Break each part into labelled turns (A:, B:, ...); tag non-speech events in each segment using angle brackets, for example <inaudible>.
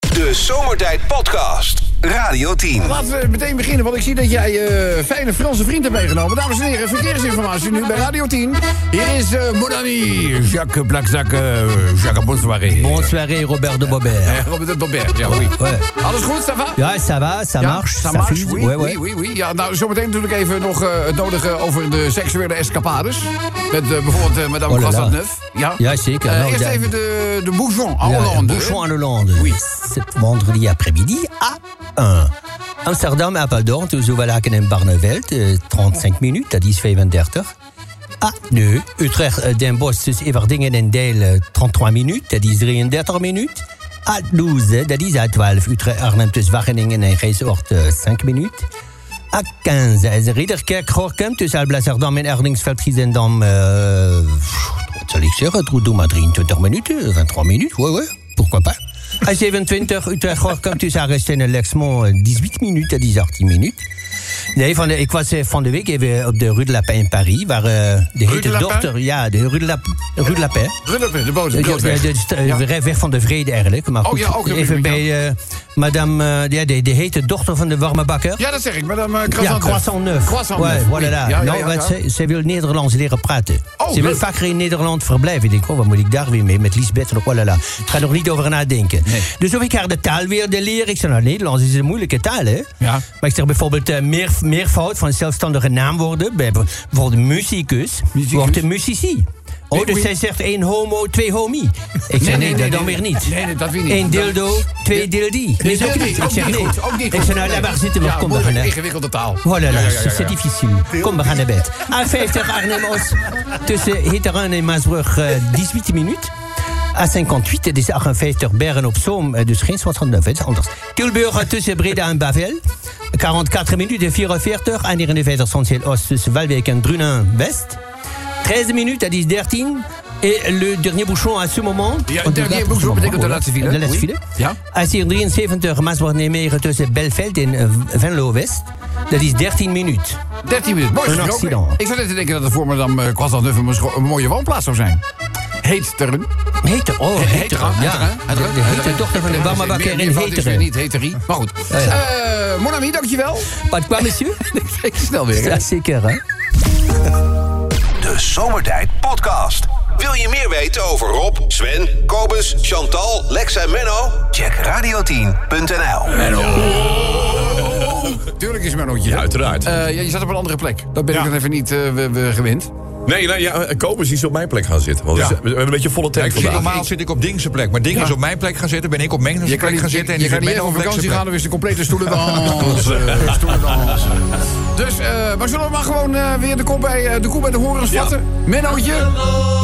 A: De Zomertijd Podcast. Radio 10.
B: Laten we meteen beginnen, want ik zie dat jij eh, fijne Franse vriend hebt meegenomen. Dames en heren, verkeersinformatie nu bij Radio 10. Hier is eh mon ami Jacques Plakzak, eh, Jacques Bonsoiré.
C: Bonne soirée, Robert de Bobert.
B: Robert de Bobert, ja, oui.
C: Ouais.
B: Alles goed, Stava?
C: Ja, ça va, ça marche, ça,
B: marche,
C: fuse.
B: oui,
C: ouais,
B: oui,
C: ouais.
B: oui, oui. Ja, nou, zometeen natuurlijk even nog eh, het nodige over de seksuele escapades. Met eh, bijvoorbeeld eh, madame
C: Oh là
B: Croissant
C: là.
B: Neuf. Ja,
C: Ja, zeker.
B: Eh,
C: Nou,
B: eerst
C: ja.
B: even de, de bouchon en
C: Ja,
B: Hollande.
C: Bouchon à Hollande. Ce Vendredi après-midi à 1. Amsterdam, Apeldoorn, tussen Valaken en Barneveld. eh, 35 minuten, dat is 35. A2. Utrecht, eh, Den Bosch tussen Everdingen en Deil. eh, 33 minuten, dat is 33 minuten. A12, dat is A12. Utrecht, Arnhem tussen Wageningen en Geesoord. eh, 5 minuten. A15, is Ridderkerk, Gorkum tussen Alblasserdam en Erdingsveld, Giesendam. eh, wat zal ik zeggen? Doe- Doe maar 23 minuten, 23 minuten, ouais, ouais, pourquoi
B: <laughs>
C: pas. A27, Utrecht, Gorkum tussen Arresten en Lexmond, eh, 18 minuten, dat is 18 minuten. Nee, van de, ik was eh, van de week even op de Rue de Lapin in Paris, waar eh, de
B: de
C: hete
B: Lapin?
C: dochter, ja, de Rue de, Lap- Rue de Lapin.
B: Runnep, de boze
C: De, de,
B: broodweg.
C: de- de-
B: Ja.
C: de weg- weg van de vrede eigenlijk. Maar
B: Oh
C: goed,
B: ja, ook nog
C: even
B: even,
C: bij eh, madame, eh, ja, de, de hete dochter van de warme bakker.
B: Ja, dat zeg ik, madame eh,
C: Ja,
B: Croissant Neuf.
C: croissant neuf.
B: Croissant
C: Ouais,
B: neuf,
C: voilà.
B: oui.
C: daar.
B: Ja, ja,
C: nou,
B: ja,
C: want
B: ja.
C: Ze, ze wil Nederlands leren praten.
B: Oh,
C: ze wil
B: leuk.
C: vaker in Nederland verblijven. Ik denk, oh, wat moet ik daar weer mee? Met Lisbeth en voilà. Ik ga er nog niet over nadenken. Dus of ik haar de taal wilde leren. Ik zei, nou, Nederlands is een moeilijke taal, hè?
B: Ja.
C: Maar ik zeg bijvoorbeeld eh, meer, meervoud van zelfstandige naamwoorden. Bij, bijvoorbeeld muzikus,
B: Muzikus.
C: wordt een muzici. Oh, dus
B: oui.
C: zij zegt één homo, twee homie. Ik
B: Nee,
C: zei,
B: nee,
C: nee,
B: nee,
C: dat dan
B: nee.
C: weer niet.
B: Nee, nee, dat weer niet.
C: Eén
B: Dat-
C: dildo, twee dildi. Nee,
B: Dus ook niet,
C: Ik
B: ook
C: zeg,
B: niet
C: nee.
B: goed, ook niet
C: Ik
B: goed.
C: zei, nou,
B: Nee.
C: laat maar zitten, we
B: Ja,
C: komen
B: moeilijk,
C: naar.
B: ingewikkelde taal.
C: Oh là là,
B: Ja, ja, ja,
C: c'est
B: ja.
C: difficile. Kom, we gaan naar bed. A50 Arnhem-Os tussen Hitterun en Maasbrug, eh, 18 minuten. A58, het is 58 Bern op Zoom, eh, dus geen 59, het is anders. Tilburg eh, tussen Breda en Bavel, 44 minuten, 44. En 59 Saint-Ciel-Oost tussen Valbeek en Drunen-West. 13 minutes, dat is 13. Et le dernier bouchon à ce moment.
B: Ja,
C: want
B: dernier
C: dat-
B: bouchon betekent de laatste file,
C: De laatste
B: oui.
C: file.
B: Ja.
C: Als hier 73 Maasbracht-Nijmegen tussen Belveld en eh, Venlo-West. Dat is 13 minuten.
B: 13 minuten. Mooi
C: Een
B: gesproken.
C: accident.
B: Ik zat net te denken dat het voor madame eh, Croissant Neuf een, scho- een mooie woonplaats zou zijn. Heeteren.
C: Heter, oh, heter.
B: Heteren.
C: Ja, de, de hete dochter van de warme bakker in Heteren.
B: Niet heterie, maar goed.
C: Ja,
B: Eh, Mon ami, dankjewel.
C: Wat kwam, monsieur?
B: Ik snel weer. hè.
C: Ja, zeker, hè?
A: De Zomertijd Podcast. Wil je meer weten over Rob, Sven, Kobus, Chantal, Lex en Menno? Check radio10.nl.
B: Tuurlijk is Mennootje.
D: Ja, uiteraard.
B: Eh, ja, je zat op een andere plek. Dat ben ik
D: Ja.
B: dan even niet eh, we, we gewend.
D: nee, nou ja, Kobus is op mijn plek gaan zitten. Want
E: Ja.
D: we hebben een beetje volle tank
E: Ik zit,
D: vandaag.
E: normaal zit ik op Dingse plek. Maar Ding is op mijn plek gaan zitten, ben ik op Mengens
B: Je
E: plek
B: kan niet,
E: gaan
B: je,
E: zitten. En
B: je
E: die
B: kan
E: zit
B: niet
E: Menno
B: even op
E: op
B: vakantie
E: Lexeplek.
B: gaan, dan is de <laughs> complete stoelendans. eh, stoelendans. Dus, eh, maar zullen we maar gewoon eh, weer de kop bij, eh, de koe bij de horens vatten? Mennootje,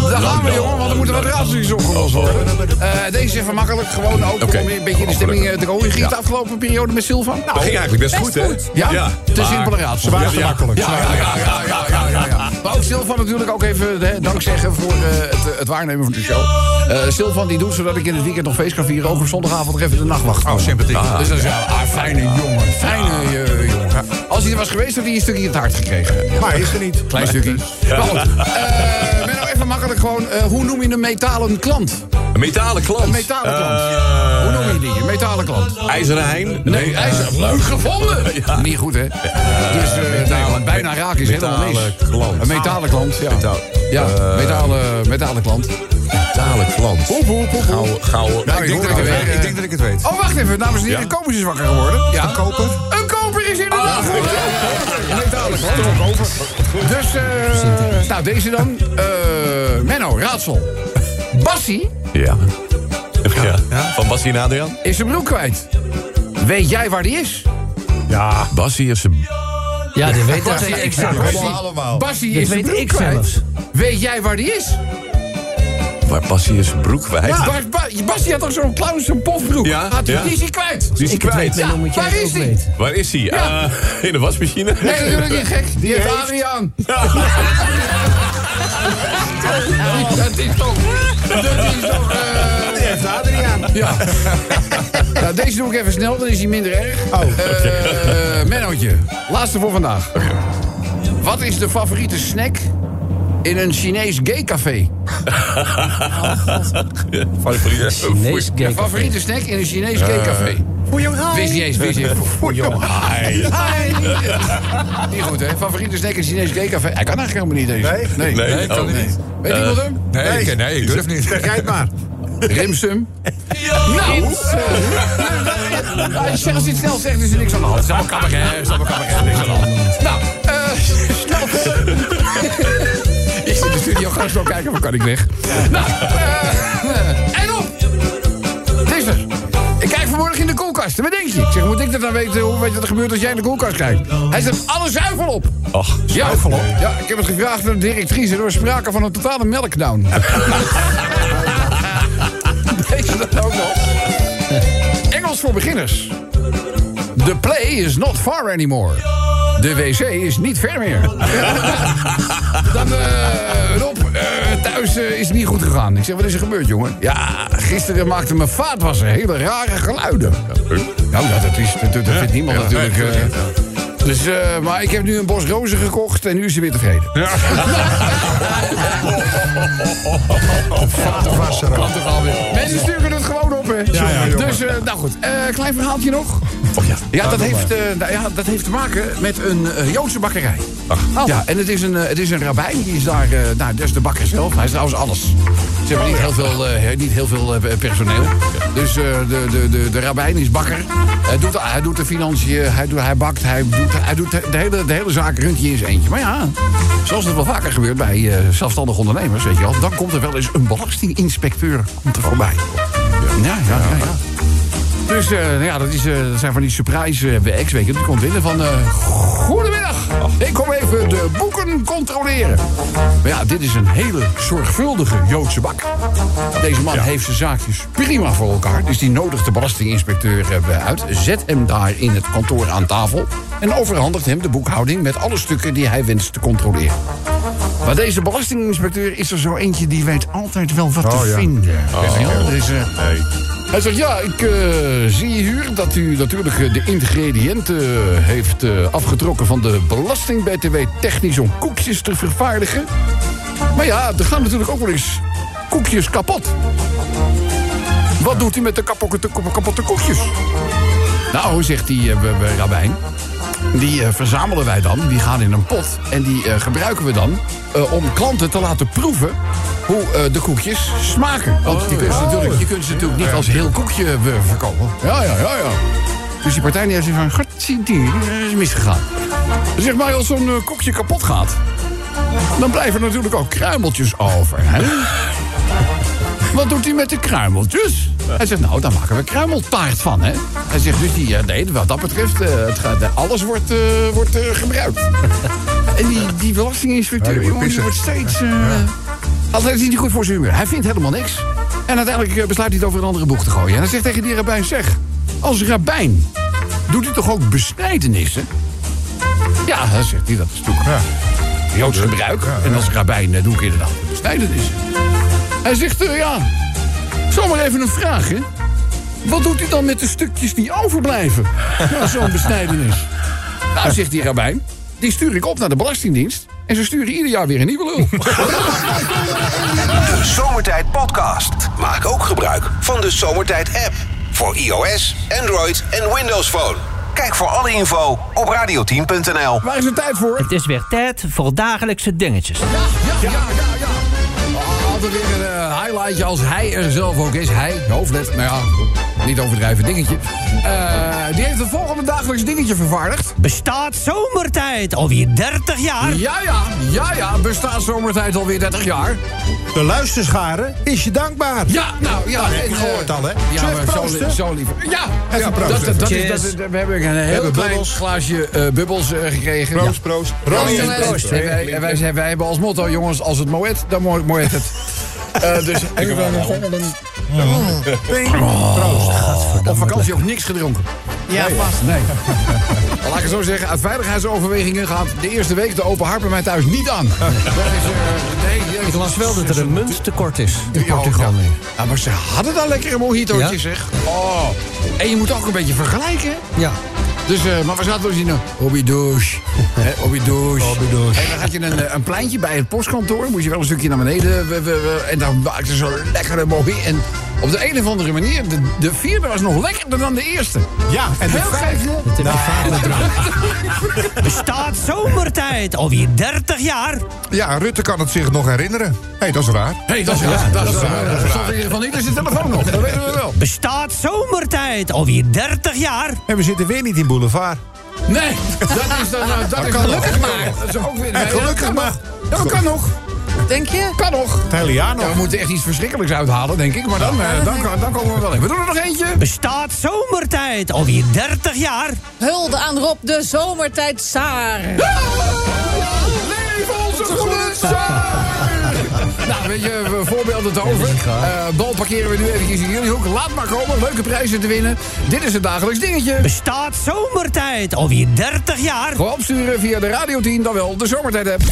B: daar gaan we jongen, want er moeten wat raadsels opgelost worden. Eh, deze is even makkelijk, gewoon ook
D: Oké.
B: om weer een beetje in de stemming eh, te komen. Hoe ging het de afgelopen periode met Silvan? Nou,
D: Dat ging eigenlijk best, goed, hè?
B: Ja? te
D: Maar-
B: simpele raadsel.
D: Ja, ja.
B: Ja, ja, ja, ja, ja, ja, ja, ja. Maar ook Silvan natuurlijk ook even hè, dank zeggen voor eh, het, het waarnemen van de show. Eh Silvan die doet zodat ik in het weekend nog feest kan vieren. Ook op zondagavond nog even de nachtwacht.
E: Oh, sympathiek.
B: Dus dat is ja, ah, fijne jongen. Fijne eh, jongen. Als hij er was geweest, had hij een stukje in het hart gekregen. Maar is er niet. Klein stukje. Maar goed. eh, Menno, even makkelijk gewoon. eh, hoe noem je een metalen klant?
D: Een metalen klant.
B: Een metalen klant.
D: Eh,
B: Hoe noem je die? Een metalen klant?
D: IJzeren Hein.
B: Nee, hij is
D: eh,
B: leuk gevonden.
D: Ja.
B: Niet goed, hè? dus eh, nou, bijna raak is helemaal niks.
D: metalen klant.
B: Een metalen klant, ja.
D: Metaal-
B: ja,
D: Eh,
B: metalen, metalen klant.
D: Metalen klant.
B: Poep, poep, poep, poep.
D: Gauw, gauw.
B: Nou,
E: Ik denk dat ik het
B: hoor
E: weet.
B: alweer,
E: Ik denk dat ik het weet.
B: Oh, wacht even, dames en heren.
D: Ja?
B: De koper is wakker geworden. Ja.
E: Een koper?
B: Een koper is inderdaad
D: Ah,
B: geworden. Een metalen klant. Een koper. Dus, eh, nou, deze dan. Eh, Menno, raadsel. Bassie
D: Ja. Ja. Van Bassie en Adriaan?
B: is zijn broek kwijt. Weet jij waar die is?
D: Ja. Bassie is een...
C: Ja, dat weet
B: Bassie,
C: ik
B: zelf.
C: zelf.
B: Bassie-
E: allemaal.
B: Bassie
C: Dat
B: is zijn
C: weet
B: broek
C: ik zelfs.
B: kwijt. Weet jij waar die is?
D: Waar Bassie is een broek kwijt.
B: Ja. Bas, Bas- Basie had toch zo'n clown, zo'n pofbroek?
D: Ja,
B: Had hij-
D: ja.
B: Die is hij kwijt.
D: Die is
C: Ik het weet,
D: kwijt.
C: Menno, moet jij
B: waar
C: het
B: is
C: ook
B: die?
C: weten.
D: Waar is hij?
B: Ja.
D: Eh, in de wasmachine?
B: Nee, natuurlijk
D: <laughs>
B: niet gek. Die, heeft
D: heeft-
B: Adriaan. <laughs> Dat is toch... Dat is toch... eh,
E: Die heeft Adriaan.
B: ja. nou, deze doe ik even snel, dan is hij minder erg. Eh, Oh. Mennootje, laatste voor vandaag. Wat is de favoriete snack in een Chinees gaycafé.
F: Chinees
B: Je
F: gay café.
B: favoriete snack in een Chinees
D: Eh.
B: gaycafé. Wist niet eens, wist niet eens. Voor jongen. Niet goed, hè? Favoriete snack in een Chinees gaycafé. Hij kan eigenlijk helemaal niet eens. Nee,
D: Nee,
B: nee,
D: kan niet. Eh.
B: Weet iemand hem?
G: Nee, ik, nee, ik durf niet.
B: Kijk maar.
D: <laughs>
B: Rimsum. Nou, <laughs> als je als iets snel zegt, is er niks aan de hand. Snel kamer, hè? Snel kamer, niks aan de hand. Nou, eh, snel verder. Ik zit in de studio, ga zo kijken, of kan ik weg? Nou, eh, <laughs> en op! Het is er. Ik kijk vanmorgen in de koelkast. Wat denk je? Ik zeg, moet ik dat dan weten? Hoe weet je dat er gebeurt als jij in de koelkast kijkt? Hij zet alle zuivel op.
D: Ach,
B: Ja, ja, ik heb het gevraagd aan de directrice. Er was sprake van een totale melkdown. <laughs> Deze dan ook nog. Engels voor beginners. The play is not far anymore. De wc is niet ver meer. Dan, eh, Rob, eh, thuis eh, is het niet goed gegaan. Ik zeg, wat is er gebeurd, jongen? Ja, gisteren maakte mijn vaatwasser hele rare geluiden. Nou, ja, dat, is, dat, dat vindt niemand natuurlijk. eh. dus, eh, maar ik heb nu een bos rozen gekocht en nu is ze weer tevreden.
G: Vaatwasser.
B: Mensen sturen het gewoon op, hè? Dus, eh, nou goed. Eh, klein verhaaltje nog.
D: ja.
B: Ja, dat heeft, eh, nou ja, dat heeft te maken met een eh, Joodse bakkerij. Ja, en het is een, eh, het is een rabbijn, die is daar, eh nou, dat is de bakker zelf. Hij is trouwens alles. Ze hebben niet heel veel, eh, niet heel veel eh, personeel. Dus eh, de, de, de, de rabbijn is bakker. Hij doet, hij doet de financiën, hij, doet, hij bakt, hij doet, hij doet de, de hele, de hele zaak runt hij in zijn eentje. Maar ja, zoals het wel vaker gebeurt bij eh, zelfstandige ondernemers, weet je wel... dan komt er wel eens een belastinginspecteur komt er voorbij. ja, ja. ja, ja. Dus eh, nou ja, dat, is, eh, dat zijn van die surprise eh, bij X-weken. Die komt binnen van... eh, Goedemiddag, ik kom even de boeken controleren. Maar ja, dit is een hele zorgvuldige Joodse bak. Deze man heeft zijn zaakjes prima voor elkaar. Dus die nodigt de belastinginspecteur eh, uit. Zet hem daar in het kantoor aan tafel. En overhandigt hem de boekhouding met alle stukken die hij wenst te controleren. Maar deze belastinginspecteur is er zo eentje die weet altijd wel wat te vinden. Weet je wel? Dus, eh,
D: Nee.
B: hij zegt, ja, ik eh, zie hier dat u natuurlijk eh, de ingrediënten heeft eh, afgetrokken van de belasting-BTW technisch om koekjes te vervaardigen. Maar ja, er gaan natuurlijk ook wel eens koekjes kapot. Wat doet u met de kapotte, kapotte koekjes? Nou, zegt die eh, we- we- rabbijn, die eh, verzamelen wij dan, die gaan in een pot. En die eh, gebruiken we dan eh, om klanten te laten proeven hoe eh, de koekjes smaken. Want die kunt ze natuurlijk, je kunt ze natuurlijk niet als heel koekje eh, verkopen. Oh. Ja, ja, ja, ja. Dus die partij die heeft zoiets van, gatsie, die eh, is misgegaan. Zeg maar, als zo'n eh, koekje kapot gaat, dan blijven er natuurlijk ook kruimeltjes over. Hè? Wat doet hij met de kruimeltjes? Hij zegt, nou, daar maken we kruimeltaart van, hè? Hij zegt dus, die, eh, nee, wat dat betreft, eh, het gaat, eh, alles wordt, eh, wordt eh, gebruikt. <laughs> En die, die belastinginspecteur,
G: Ja, die
B: jongen,
G: wordt
B: die wordt steeds... eh Altijd is hij niet goed voor zijn humeur. Hij vindt helemaal niks. En uiteindelijk eh, besluit hij het over een andere boeg te gooien. En hij zegt tegen die rabbijn, zeg, als rabbijn doet u toch ook besnijdenissen? Ja, hè, zegt hij, dat is natuurlijk Joods gebruik. En als rabbijn eh, doe ik inderdaad besnijdenissen. Hij zegt, eh, ja, zomaar even een vraag, hè. Wat doet u dan met de stukjes die overblijven? na zo'n besnijdenis. Nou, zegt die rabbijn, die stuur ik op naar de Belastingdienst... en ze sturen ieder jaar weer een nieuwe <laughs> lul.
A: De Zomertijd Podcast. Maak ook gebruik van de Zomertijd app. Voor iOS, Android en Windows Phone. Kijk voor alle info op radio10.nl.
B: Waar is het tijd voor?
H: Het is weer tijd voor dagelijkse dingetjes.
B: Ja, ja, ja, ja. Ah, Altijd weer een eh, highlightje als hij er zelf ook is. Hij, de hoofdlet, nou ja, niet overdrijven dingetje. Eh, die heeft het volgende dagelijks dingetje vervaardigd.
H: Bestaat zomertijd alweer 30 jaar?
B: Ja, ja, ja, ja, bestaat zomertijd alweer 30 jaar.
E: De luisterscharen is je dankbaar.
B: Ja, nou, ja.
E: heb je
B: en, eh,
E: gehoord al, hè?
B: Ja,
E: Zullen we
B: maar zo,
E: proosten?
B: li- zo liever. Ja,
E: Even
B: ja,
E: proosten.
B: Dat, dat is, dat
H: Cheers.
B: is- we hebben een heel
E: hebben
B: klein
E: bubbels.
B: glaasje eh, bubbels eh, gekregen. Ja.
E: Proost, proost. Proost,
B: Ja, jongens,
E: proost.
B: en wij, en wij, zijn- wij hebben als motto, jongens, als het moet, dan mo- moet
E: <laughs>
B: het. Eh, dus Oh, ik Op vakantie ook niks gedronken.
E: Ja, vast.
B: Nee. <laughs> Laat ik het zo zeggen, uit veiligheidsoverwegingen gaat de eerste week de open harp bij mij thuis niet
E: <laughs>
B: aan. Dat is, eh, nee, nee,
F: Ik las wel dat er een muntstekort is in
B: Ja,
F: Portugal
B: ja.
F: nu.
B: Ja, maar ze hadden daar lekkere mojitootjes,
F: Ja?
B: zeg. Oh. En je moet ook een beetje vergelijken.
F: Ja.
B: Dus, eh, maar we zaten dus in een hobbydoos. Hè, hobbydoos. En dan had je een, eh, een pleintje bij het postkantoor. Moest je wel een stukje naar beneden. We- we- we- en dan maakte zo'n lekkere mooi. En op de een of andere manier, de, de vierde was nog lekkerder dan de eerste.
E: Ja, en de
B: Heel
E: vijf.
B: gek, hè?
H: Bestaat zomertijd alweer 30 jaar?
I: Ja, Rutte kan het zich nog herinneren. Hé, hey, dat is raar.
B: Hé, dat is raar. Dat is raar. Dat stond in ieder geval niet in zijn telefoon nog. Dat weten we wel.
H: Bestaat zomertijd alweer 30 jaar?
E: En we zitten weer niet in Boulevard.
B: Nee, dat is dan... nou, dat is gelukkig maar. Dat is ook weer... nee,
E: gelukkig
B: dat kan
E: maar.
B: nog. Dat kan nog.
J: Denk je?
B: Kan nog.
E: Het hele jaar nog.
B: Ja, we moeten echt iets verschrikkelijks uithalen, denk ik. Maar dan, eh, dan, kan- dan komen we wel in. We doen er nog eentje.
H: Bestaat zomertijd alweer 30 jaar?
J: Hulde aan Rob de zomertijd Saar.
B: Leef onze groene zaak! Nou, weet je, we voorbeelden te over. Eh, bal parkeren we nu eventjes in jullie hoek. Laat maar komen, leuke prijzen te winnen. Dit is het dagelijks dingetje.
H: Bestaat zomertijd alweer 30 jaar?
B: Gewoon opsturen via de Radio 10, dan wel de Zomertijd-app.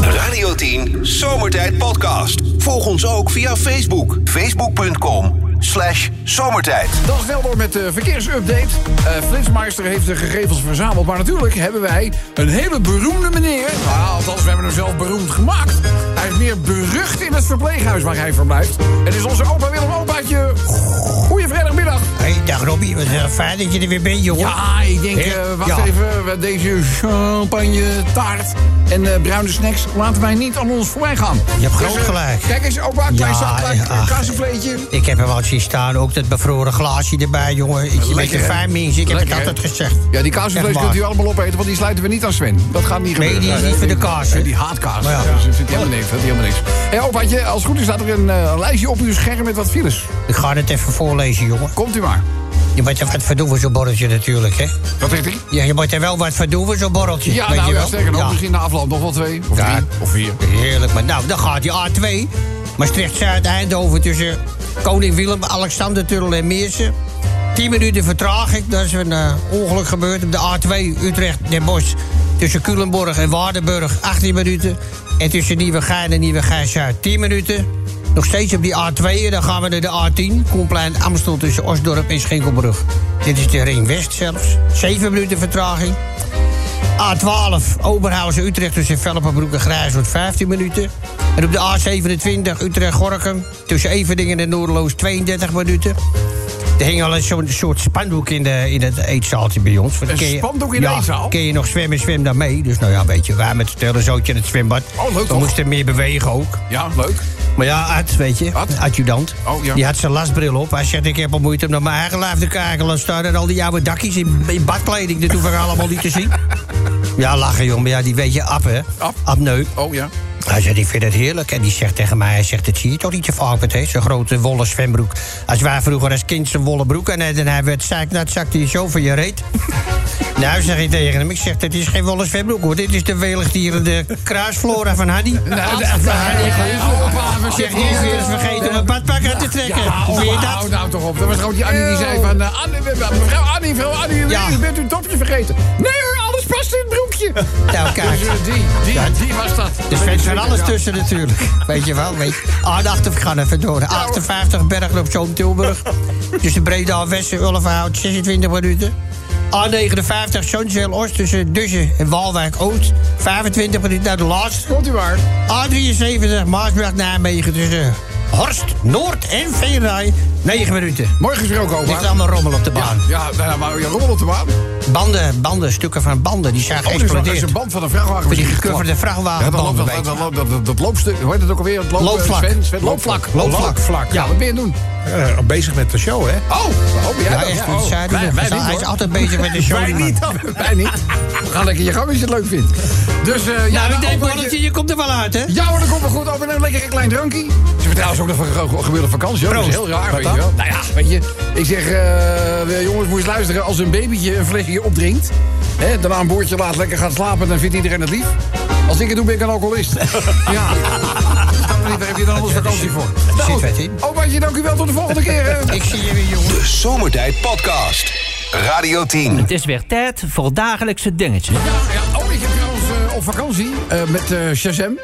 A: Radio 10 Zomertijd Podcast. Volg ons ook via Facebook. Facebook.com slash zomertijd.
B: Dan snel door met de verkeersupdate. Eh Flitsmeister heeft de gegevens verzameld. Maar natuurlijk hebben wij een hele beroemde meneer. Nou, althans, we hebben hem zelf beroemd gemaakt. Hij is meer berucht in het verpleeghuis waar hij verblijft. Het is onze opa Willem Opaatje. Goeie vrijdagmiddag.
C: Hey, dag Robbie, wat eh, fijn dat je er weer bent, jongen.
B: Ja, ik denk, eh, wacht
C: Ja.
B: even. we- Deze champagne, taart en eh, bruine snacks laten wij niet aan ons voorbij gaan.
C: Je hebt groot
B: eh,
C: gelijk.
B: Kijk eens, opa, klein
C: Ja,
B: zakje,
C: ja.
B: kaasvleetje.
C: Ik heb er wat zien staan, ook dat bevroren glaasje erbij, jongen. Ik je bent een
B: hè?
C: fijn mens, ik heb
B: Lekker,
C: het
B: hè?
C: altijd gezegd.
B: Ja, die
C: Echt
B: kaasvlees
C: waar.
B: kunt u allemaal opeten, want die sluiten we niet aan Sven. Dat gaat niet
C: Nee,
B: gebeuren.
C: die is niet voor de kaas, hè?
B: Nee, die haat kaas.
C: Maar ja.
B: Ja. Dus vindt hij helemaal niks. Vindt hij helemaal niks. Hé, opaatje, als het goed is staat er een eh, lijstje op uw scherm met wat files.
C: Ik ga het even voorlezen, jongen.
B: Komt u maar.
C: Je moet er wat voor doen voor zo'n borreltje natuurlijk, hè.
B: Wat zegt hij?
C: Ja, je moet er wel wat voor doen voor zo'n borreltje,
B: Ja,
C: weet
B: nou
C: je
B: ja,
C: wel.
B: sterker nog,
C: Ja,
B: misschien na afloop nog wel twee of
C: Ja.
B: drie of vier.
C: Heerlijk, maar nou, dan gaat die A2. Maastricht-Zuid-Eindhoven tussen koning Willem, Alexander Turrel en Meersen. 10 minuten vertraging, dat is een eh, ongeluk gebeurd op de A2 Utrecht-Den Bosch. Tussen Culemborg en Waardenburg 18 minuten. En tussen Nieuwegein en Nieuwegein-Zuid 10 minuten. Nog steeds op die A2, en dan gaan we naar de A10. Koenplein Amstel tussen Osdorp en Schinkelbrug. Dit is de Ring West zelfs. 7 minuten vertraging. A12 Oberhausen-Utrecht tussen Velpenbroek en Grijshoort 15 minuten. En op de A27 Utrecht-Gorkum tussen Everdingen en Noordeloos 32 minuten. Er hing al een soort, soort spandoek in, de, in het eetzaaltje bij ons. Want
B: Een
C: ken je-
B: spandoek in de
C: ja,
B: eetzaal?
C: Kun je nog zwemmen, zwem daar mee. Dus nou ja, weet je, wij met het telezootje in het zwembad.
B: Oh, leuk
C: We
B: toch?
C: moesten meer bewegen ook.
B: Ja, leuk.
C: Maar ja, Ad, weet je,
B: Ad?
C: adjudant.
B: Oh, ja.
C: Die had zijn lasbril op. Hij zegt, ik heb al moeite om naar mijn eigen lijf te kijken. Dan staan er al die oude dakjes in, in badkleding. Dat hoeven we allemaal niet te
B: <laughs>
C: zien. Ja, lachen, jong. Maar ja, die weet je, Ab, hè?
B: Ab?
C: Neu.
B: Oh ja.
C: Hij zegt, ik vind het heerlijk. En die zegt tegen mij, hij zegt, dat zie je toch niet zo vaak met hè, zo'n grote wollen zwembroek. Als wij vroeger als kind zo'n wollen broek aan hadden... en hij werd zeiknat, zakte hij zo van je
B: <laughs>
C: reet. nou, zeg ik tegen hem, ik zeg, dit is geen wollen zwembroek, hoor. Dit is de weligdierende kruisflora van Hanny.
B: Nou, dat is Opa, we
C: Zeg,
B: zeggen
C: die is weer eens vergeten om een badpak aan te trekken. Hoe vind je
B: opa,
C: dat?
B: Hou nou toch op. Dat was gewoon die Annie die zei van... eh, Annie, mevrouw Annie, mevrouw Annie,
C: Ja.
B: u bent uw topje vergeten. Nee hoor, alles past in het broekje.
C: <laughs> Nou,
B: Dus eh,
C: kijk.
B: die, die, die was dat.
C: Er zit
B: Weet je
C: van
B: zeker,
C: alles
B: ja.
C: tussen natuurlijk. Weet je wel, weet je. Ah, de achter, ik ga even door. De 58 Bergen op Zoom Tilburg. Tussen Breda, Westen, Ulvenhout, 26 minuten. A59 Zonzeel Oost tussen Dussen en Walwijk Oost. 25 minuten naar de laatste.
B: Komt u maar.
C: A73 Maasbracht Nijmegen tussen Horst, Noord en Veenrij. 9 minuten.
B: Mooi gesproken,
C: Er ligt
B: opa.
C: allemaal rommel op de baan.
B: Ja, nou, ja, maar je rommel op de baan. Oh,
C: Banden, banden, stukken van banden, die zijn
B: er Oh, is wel- er is
C: geëxplodeerd.
B: een band van een vrachtwagen.
C: Van die
B: misschien
C: gecoverde
B: geklapt.
C: vrachtwagen.
B: Ja, dat, loopt,
C: banden,
B: dat,
C: weet je.
B: dat, dat, dat, dat loopstuk, hoe heet het ook alweer? Het loop, eh,
C: Loopvlak.
B: Sven, Sven, loopvlak.
C: Loopvlak.
B: Ja, wat ben je aan het doen?
E: Eh, bezig met de show, hè?
B: Oh, oh ja,
C: Ja,
B: dat-
C: echt,
B: oh.
C: want zij doen
B: Wij-
C: het.
B: wij niet,
C: Hij is
B: hoor.
C: altijd bezig <laughs> met de show.
B: Wij niet. <laughs> Wij niet. Ga lekker je gang als je het leuk vindt. Dus eh, ja,
C: Nou, ik
B: nou,
C: denk wel
B: Albertje-
C: dat je, je komt er wel uit, hè?
B: Ja hoor, dat komt wel goed. Over een lekker klein drankie. Ze vertrouwen ook nog van ge- gemiddelde vakantie. hoor. Dat is heel raar, weet je wel. Nou ja, weet je. Ik zeg, eh, jongens, moet je eens luisteren. Als een babytje een flesje opdrinkt... Hè, daarna een boordje laat lekker gaan slapen... dan vindt iedereen het lief. Als ik het doe, ben ik een alcoholist. <laughs> ja. Snap je niet, Daar heb je dan anders vakantie voor.
C: zit wat in.
B: Opaatje, dank u wel. Tot de volgende keer. hè.
C: Nou, Ik zie je weer, jongen. <laughs>
A: De Zomertijd Podcast. Radio 10.
H: Het is weer tijd voor dagelijkse dingetjes.
B: Ja, ja. Oh, ik heb trouwens eh, op vakantie eh, met eh Shazam.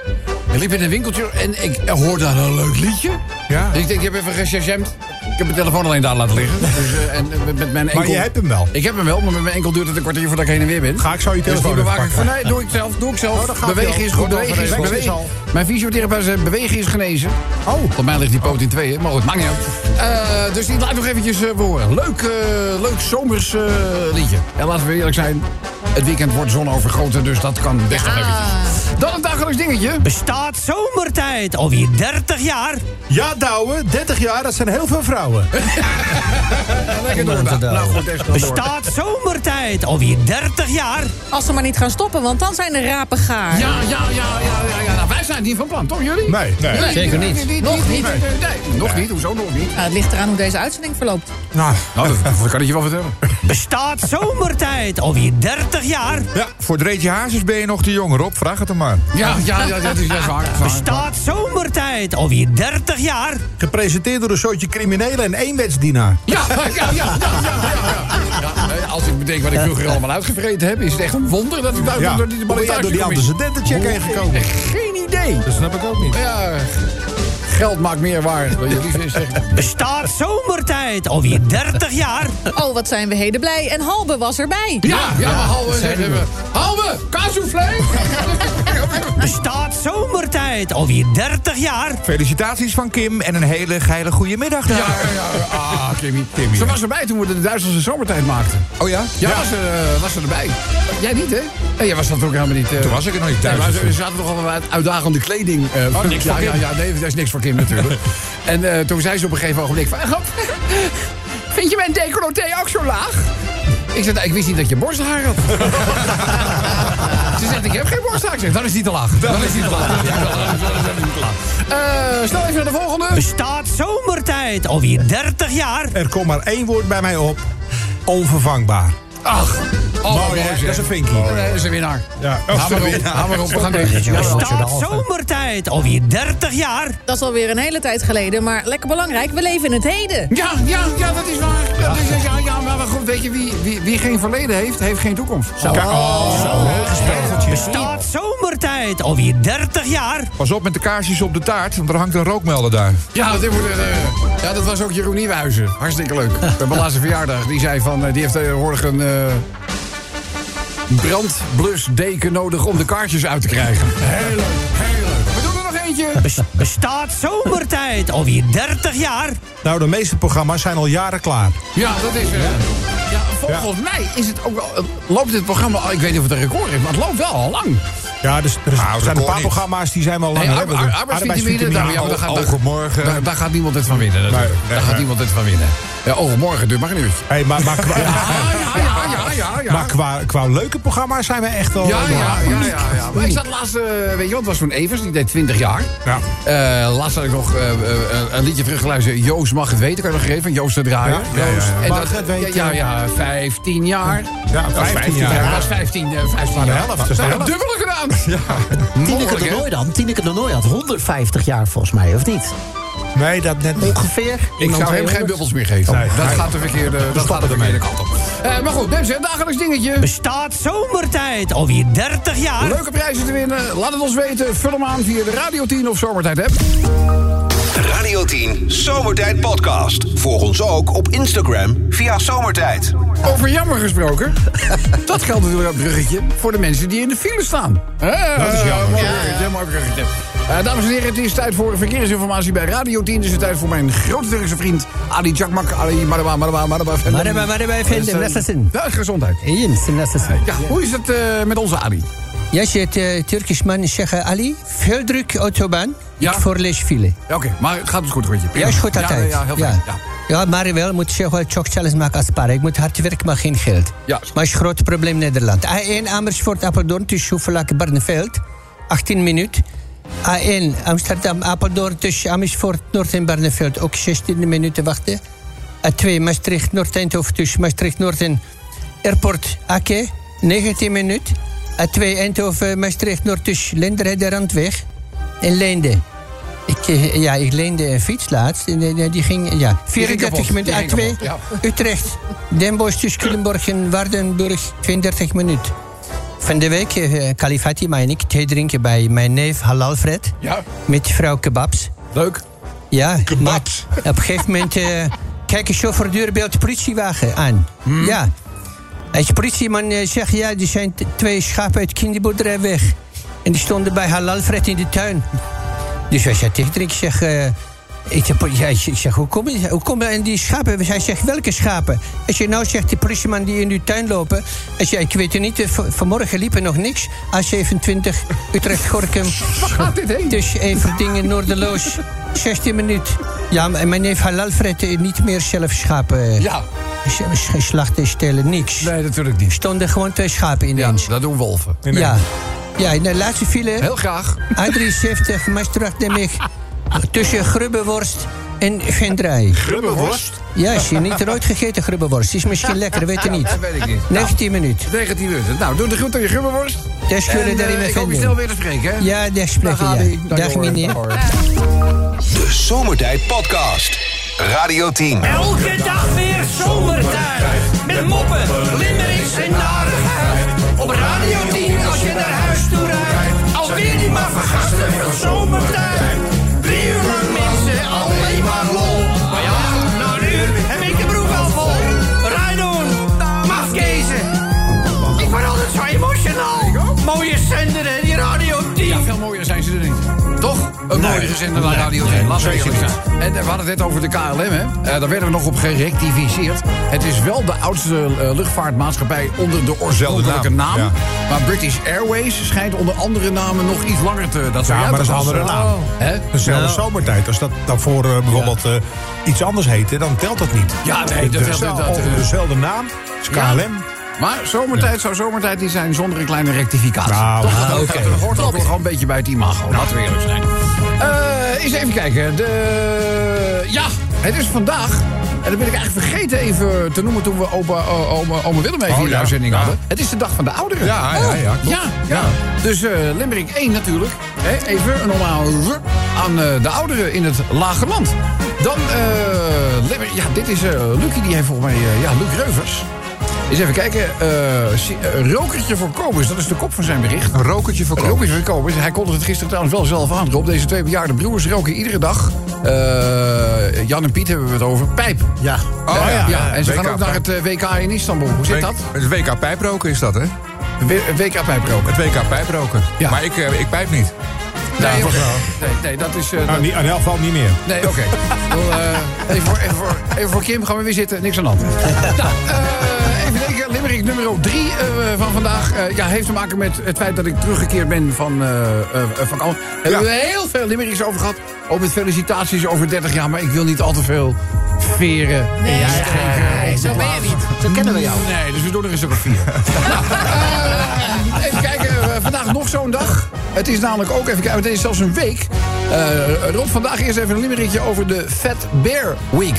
B: Ik liep in een winkeltje en ik hoorde daar een leuk liedje.
E: Ja.
B: Dus ik denk, ik heb even gechargemd. Ik heb mijn telefoon alleen daar laten liggen. Dus, eh, en met, met mijn enkel...
E: Maar je hebt hem wel.
B: Ik heb hem wel, maar met mijn enkel duurt het een kwartier voordat ik heen en weer ben.
E: Ga ik zo je telefoon
B: dus die
E: even
B: bewaak ik van,
E: pakken.
B: nee, doe ik zelf, doe ik
E: Oh,
B: zelf.
E: dan gaat hij
B: bewegen
E: al.
B: is goed,
E: Wordt al
B: bewegen is,
E: geregeld.
B: bewegen.
E: Is
B: Mijn fysiotherapeut zei, bewegen is genezen.
E: Oh.
B: Volgens mij ligt die poot in tweeën, maar goed, maakt niet uit. Eh, dus die laat ik nog eventjes eh, horen. Leuk, eh, leuk zomers eh, liedje. En laten we eerlijk zijn, het weekend wordt zonovergoten, dus dat kan best nog eventjes. Dan een dagelijks dingetje.
I: Bestaat zomertijd alweer 30 jaar?
E: Ja, Douwe, 30 jaar, dat zijn heel veel vrouwen.
B: Lekker door, Daan. Nou goed, even door.
I: Bestaat zomertijd alweer 30 jaar?
J: Als ze maar niet gaan stoppen, want dan zijn de rapen gaar.
B: Ja, ja, ja, ja, ja, ja. Nou, wij zijn niet van plan, toch jullie?
E: Nee, nee.
C: Zeker niet.
B: nog niet. Nee, nee, nog niet. Hoezo nog niet?
J: Nou, het ligt eraan hoe deze uitzending verloopt.
E: Nou,
B: Nou, dat, kan ik je wel vertellen.
I: Bestaat zomertijd alweer 30 jaar?
K: Ja, voor Dreetje Hazes ben je nog te jong, Rob. Vraag het hem maar.
B: Ja, ja, ja, dat is ja, zwaar.
I: Bestaat zomertijd alweer 30 jaar?
E: gepresenteerd door een soortje criminelen en eenwetsdienaar.
B: Ja, ja, ja, ja, ja, Als ik bedenk wat ik vroeger allemaal uitgevreten heb, is het echt een wonder dat ik daar
E: Ja,
B: door die
E: hoe ben jij door die antecedentencheck heen gekomen?
B: Geen idee.
E: Dat snap ik ook niet.
B: Ja, geld maakt meer waard. Wil je lief is zeggen?
I: Bestaat zomertijd alweer 30 jaar?
J: Oh, wat zijn we heden blij. En Halbe was erbij.
B: Ja, ja, maar halve zeggen we. Halve, kaassoufflé!
I: Bestaat zomertijd alweer 30 jaar?
K: Felicitaties van Kim en een hele geile goede middag daar.
B: Ja, ja, ja. Ah, Kimmy. Ze was erbij toen we de Duitsers de zomertijd maakten.
K: Oh ja?
B: Ja, Was, er, eh, was er erbij. Jij niet, hè? Nee, jij was dat ook helemaal niet. eh.
K: Toen was ik er nog niet
B: Nee,
K: thuis.
B: maar ze zaten nogal wat uitdagende kleding. eh,
K: niks
B: ja,
K: voor
B: ja,
K: Kim.
B: ja, nee, dat is niks voor Kim natuurlijk. en eh, toen zei ze op een gegeven ogenblik van... "Grap, vind je mijn decolleté ook zo laag? Ik zei, "Nou, ik wist niet dat je borsthaar had. Ze zegt, ik heb geen borsthaar. Ik zeg, dan is die te laag. Dan is die te laag. Ja, dan is die te laag. Eh, snel even naar de volgende.
I: Bestaat zomertijd alweer 30 jaar?
E: Er komt maar één woord bij mij op. Onvervangbaar.
B: Ach, oh,
E: Mooi, hè?
B: zeg.
E: Dat is een vinkie.
B: Oh, nee, dat is een winnaar.
E: Ja, dat is
B: Hamer
E: een
B: op,
E: winnaar.
B: hamer op, we gaan deze.
I: Bestaat zomertijd alweer 30 jaar?
J: Dat is alweer een hele tijd geleden, maar lekker belangrijk. We leven in het heden.
B: Ja, ja, ja, dat is waar. Dat is, ja, ja, maar goed, weet je, wie, wie, wie geen verleden heeft, heeft geen toekomst. oh, Zo.
I: Bestaat zomertijd alweer 30 jaar?
K: Pas op met de kaarsjes op de taart, want er hangt een rookmelder daar.
B: Ja, dit wordt, eh, ja, dat was ook Jeroen Nieuwenhuizen. Hartstikke leuk. <laughs> Bij mijn laatste verjaardag, die zei van, eh, die heeft tegenwoordig een... eh, brandblusdeken nodig om de kaartjes uit te krijgen. Heel leuk, heel leuk. We doen er nog eentje.
I: Bes- Bestaat zomertijd alweer 30 jaar?
E: Nou, de meeste programma's zijn al jaren klaar.
B: Ja, dat is er. Ja, volgens mij is het ook wel, loopt dit programma, al- ik weet niet of het een record is, maar het loopt wel al lang.
E: Ja, dus, er is- er zijn een paar
K: niet.
E: programma's die zijn wel lang. nou,
B: Nee, ar- ar- arbeidsvitamine, daar, ja, maar daar, gaat- daar,
K: Oog op morgen.
B: daar, daar gaat niemand het van winnen. natuurlijk.
E: Nee, nee,
B: daar gaat
E: nee.
B: niemand het van winnen. Ja, oog op morgen, duurt maar een uurtje.
E: Hey, maar, maar, qua,
B: <laughs> Ja, ja, ja, ja, ja.
E: maar qua, qua leuke programma's zijn we echt al...
B: Ja, ja, ja, ja, ja. Maar ik zat laatst, eh, weet je wat, het was van Evers, die deed 20 jaar.
E: Ja.
B: Eh, laatst had ik nog eh, eh, een liedje teruggeluisterd. Joost mag het weten, kan je nog geven, van Joost te draaien.
E: Ja, Joost
B: En
E: mag
B: dat-
E: het weten.
B: Ja, ja, 15 jaar.
E: Ja,
B: Dat was
E: 15 jaar.
B: Dat was 15, eh, 15 jaar.
E: de helft, dat is de
B: Nou,
E: helft.
B: dubbele gedaan.
L: Tineke
B: Mogelijk,
L: de
B: hè?
L: Nooi dan. Tineke de Nooi had 150 jaar volgens mij, of niet?
E: Nee, dat net niet.
L: Ongeveer.
B: Ik zou hem
L: 200.
B: geen bubbels meer geven.
E: Nee,
B: dat
E: nee.
B: gaat de verkeerde, dat gaat de verkeerde kant op. Eh, maar goed, mensen, een dagelijks dingetje.
I: Bestaat zomertijd alweer 30 jaar?
B: Leuke prijzen te winnen. Laat het ons weten. Vul hem aan via de Radio 10 of Zomertijd app.
A: Radio 10 Zomertijd Podcast. Volg ons ook op Instagram via Zomertijd.
B: Over jammer <laughs> gesproken. dat geldt natuurlijk ook bruggetje voor de mensen die in de file staan. dat is jammer. Mooi bruggetje, mooi bruggetje. Eh, dames en heren, het is tijd voor verkeersinformatie bij Radio 10. Het is de tijd voor mijn grote Turkse vriend Ali Jakmak. Ali Maraba, Maraba, Maraba. Fendem.
C: Maraba, Maraba, Fendem,
B: Dat is, eh,
C: Nessesin.
B: Ja, gezondheid.
C: Eens, en dat is het.
B: Ja, hoe is het eh, met onze Ali?
C: Ja, zegt eh, Turkisch man, zeggen Ali, veel druk autobaan,
B: Ja.
C: ja. voor lesfile.
B: Ja, Oké, maar het gaat dus goed, Rotje.
C: Ja, is goed
B: ja,
C: altijd.
B: Ja, heel fijn. Ja.
C: Ja, maar wel moet je wel chokchales maken als paar. Ik moet hard werken, maar geen geld.
B: Ja.
C: Maar is een groot probleem in Nederland. A1 Amersfoort, Apeldoorn tussen Hoevelaken, Barneveld. 18 minuten. A1 Amsterdam, Apeldoorn tussen Amersfoort, Noord en Barneveld. Ook 16 minuten wachten. A2 Maastricht, Noord-Eindhoven tussen Maastricht, Noord en Airport Akke. 19 minuten. A2 Eindhoven, Maastricht, Noord tussen Linderheide, Randweg en Leende. Ik, eh, ja, ik leende een fiets laatst. En, eh, die ging, ja,
B: kapot.
C: 34
B: Die
C: minuten. ah,
B: ging
C: A2,
B: kapot, ja.
C: Utrecht. Den Bosch tussen Culemborg en Waardenburg, 32 minuten. Van de week, eh, Kalifati, mij en ik, thee drinken bij mijn neef Halalfred.
B: Ja.
C: Met die vrouw Kebabs.
B: Leuk.
C: Ja, Kebabs. op een gegeven moment eh kijkt een chauffeur beeld de politiewagen aan. Ja. En de politieman eh, zegt, ja, er zijn t- twee schapen uit de kinderboerderij weg. En die stonden bij Halalfred in de tuin. Dus wij zei tegen ik zeg... eh, ik, zeg, ja, ik zeg, hoe kom je, hoe kom je aan die schapen? Hij zegt, welke schapen? Als je nou zegt, die politieman die in uw tuin lopen... Als je, ik weet het niet, eh, van- vanmorgen liep er nog niks. A27, Utrecht-Gorkum. Waar gaat dit heen? Dus even dingen noordeloos. 16 minuten. Ja, en mijn neef Halalfred eh, niet meer zelf schapen... eh. Ja. Slachten, stelen, niks.
B: Nee, natuurlijk niet.
C: Stonden gewoon twee schapen ineens.
B: dat doen wolven.
C: Ja. Ja, in de laatste file. Heel
B: graag.
C: A73, Maastricht, Nijmegen. Tussen grubbeworst en vendraai.
B: Grubbeworst?
C: Ja, is je niet nooit gegeten grubbeworst. Is
B: <laughs>
C: misschien lekker, weet je
B: Ja,
C: niet.
B: dat weet ik niet.
C: 19 minuten.
B: 19 minuten. Nou, doe de groet aan je grubberworst.
C: Daar schudden
B: En,
C: daar
B: eh,
C: in mijn
B: Ik hoop je
C: vinding.
B: snel weer te spreken, hè?
C: Ja, daar spreken,
B: Dag,
C: ja.
B: Adi.
C: Dag,
B: jongen.
C: meneer.
B: hoor.
A: De Zomertijd Podcast. Radio 10.
H: Elke dag weer zomertijd. Met moppen, limmerings en narigheid. Op Radio 10 als je naar huis toe rijdt. Alweer die maar vergasten van zomertijd. Drie uur lang mensen, alleen maar lol. Maar ja, na een uur heb ik de broek al vol. Rijdoen, mafkezen. Ik word altijd zo emotional. Mooie zender hè, die Radio 10.
B: Ja, veel mooier zijn ze er niet. Toch? Een
M: Nee.
B: mooiere zender dan
M: Nee.
B: Radio
M: Nee,
B: 10. Laten we
M: zeker
B: eerlijk
M: niet.
B: zijn. En eh, we hadden het net over de KLM, hè? Eh, daar werden we nog op gerectificeerd. Het is wel de oudste eh, luchtvaartmaatschappij onder de oorspronkelijke
M: naam,
B: naam.
M: ja.
B: Maar British Airways schijnt onder andere namen nog iets langer te... Dat ze-
E: Ja, maar dat is een
B: was,
E: andere
B: eh,
E: naam.
B: Hè?
E: Dezelfde
B: Nou.
E: zomertijd. Als dat daarvoor eh, bijvoorbeeld eh, iets anders heette, dan telt dat niet.
B: Ja, nee, dat-
E: Dezelfde-
B: dat- dat-
E: onder dezelfde naam. Het is
B: Ja.
E: KLM.
B: Maar zomertijd zou zomertijd niet zijn zonder een kleine rectificatie.
E: Nou,
B: Toch?
E: ah,
B: Dat-
E: oké.
B: Dat hoort ook wel gewoon een beetje bij het imago.
M: Nou.
B: Laten we eerlijk zijn. Eh, eens even kijken. De... Ja, het is vandaag. En dat ben ik eigenlijk vergeten even te noemen toen we opa, o- oma, oma Willem even
M: Oh,
B: in de
M: ja.
B: uitzending
M: Ja.
B: hadden. Het is de dag van de ouderen. Oh,
M: Ja, ja, ja, klopt.
B: ja, ja. Dus eh Limerick 1 natuurlijk. Hè, even een omhouden aan eh, de ouderen in het lage land. Dan, eh Limerick, ja, dit is eh Lucie, die heeft volgens mij, eh, ja, Luc Reuvers. Eens even kijken. eh, si- eh, rokertje voor Kobus, dat is de kop van zijn bericht.
M: Een rokertje voor
B: Rook is voorkomen. Hij kondigde het gisteren trouwens wel zelf aan. Rob, deze twee bejaarde broers roken iedere dag. eh, Jan en Piet hebben we het over. Pijp.
N: Ja.
B: Oh, ja, ja. En ze
M: WK
B: gaan ook naar het eh, WK in Istanbul. Hoe zit dat?
M: Het WK pijproken is dat, hè?
B: W- eh, WK pijproken.
M: Het WK pijproken.
B: Ja.
M: Maar ik, eh, ik pijp niet.
B: Nee,
E: volgens mij
B: nee, nee, dat is... eh,
E: Nou,
B: dat-
E: niet, in elk geval niet meer.
B: Nee, oké. Wel, eh, even, voor, even, voor, even voor Kim gaan we weer zitten. Niks aan de hand. nou, eh, even denken. Limerick nummer 3 van vandaag. eh, ja, heeft te maken met het feit dat ik teruggekeerd ben van... eh eh, van al. Hebben we heel veel Limericks over gehad. Ook met felicitaties over 30 jaar. Maar ik wil niet al te veel veren.
I: Nee,
B: in je
I: nee,
B: eigen-
I: nee, zo ben je niet.
N: Zo kennen we jou.
B: Nee, dus we doen er eens op vier. Nou, eh, <laughs> even kijken, eh, vandaag nog zo'n dag. Het is namelijk ook, even kijken, het is zelfs een week. Eh Rob, vandaag eerst even een limerickje over de Fat Bear Week.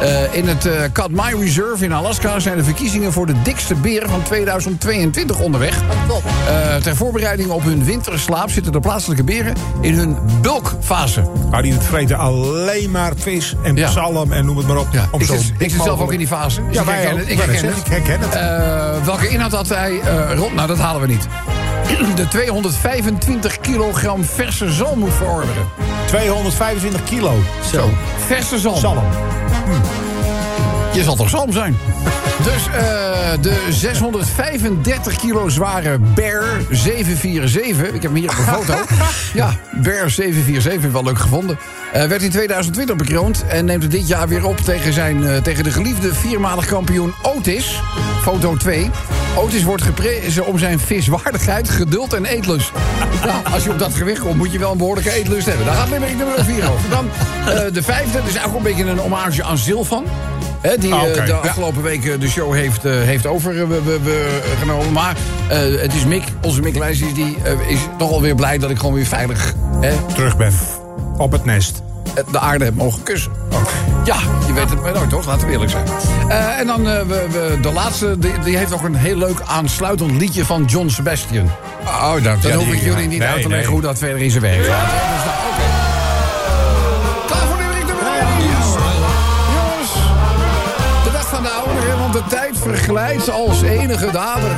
B: Eh, in het eh Cut My Reserve in Alaska zijn de verkiezingen voor de dikste beer van 2022 onderweg. Eh, ter voorbereiding op hun winterslaap zitten de plaatselijke beren in hun bulkfase.
E: Maar Nou, die vreten alleen maar vis en
B: Ja.
E: psalm en noem het maar op.
B: Ja,
E: om
B: ik
E: zo
B: zit, ik
E: dik
B: zit zelf ook
E: mogelijk-
B: in die fase. Dus
E: Ja,
B: ik
E: wij
B: herken
E: ook.
B: het.
E: Ik
B: Ik herken
E: wou
B: het.
E: net zeggen, ik herken het.
B: Eh, welke inhoud had hij? eh Rob, nou dat halen we niet. De 225 kilogram verse zalm moet verorberen.
E: 225 kilo.
B: Zo. Verse zalm.
E: Psalm.
B: Je zal toch zalm zijn? dus eh, de 635 kilo zware Bear 747... Ik heb hem hier op <laughs> een foto. ja, Bear 747, wel leuk gevonden. Eh, werd in 2020 bekroond en neemt het dit jaar weer op... tegen, zijn, eh, tegen de geliefde viermalig kampioen Otis. Foto 2. Otis wordt geprezen om zijn viswaardigheid, geduld en eetlust. <laughs> Nou, als je op dat gewicht komt, moet je wel een behoorlijke eetlust hebben. Daar gaat Limerick nummer 4 over. Dan eh, de vijfde, dat is eigenlijk een beetje een hommage aan Zilvan. Hè, die
E: Ah,
B: eh,
E: oké.
B: de
E: Ja.
B: afgelopen week eh, de show heeft, eh, heeft overgenomen. Maar eh, het is Mick, onze Mick Leijsjes, die eh, is toch alweer blij dat ik gewoon weer veilig hè,
E: Terug ben. Op het nest. Oh.
B: de aarde heb mogen kussen. Ja, je weet het maar nooit, toch? Laten we eerlijk zijn. Eh, en dan eh, we, we- de laatste, die, die heeft nog een heel leuk aansluitend liedje van John Sebastian.
M: Oh, dan,
B: Dan hoef ik jullie niet uit te leggen hoe dat verder in zijn werk gaat. Dus nou, oké. Klaar voor Limerick nummer één? Jongens, de dag van de ouderen, want de tijd verglijdt als enige dader.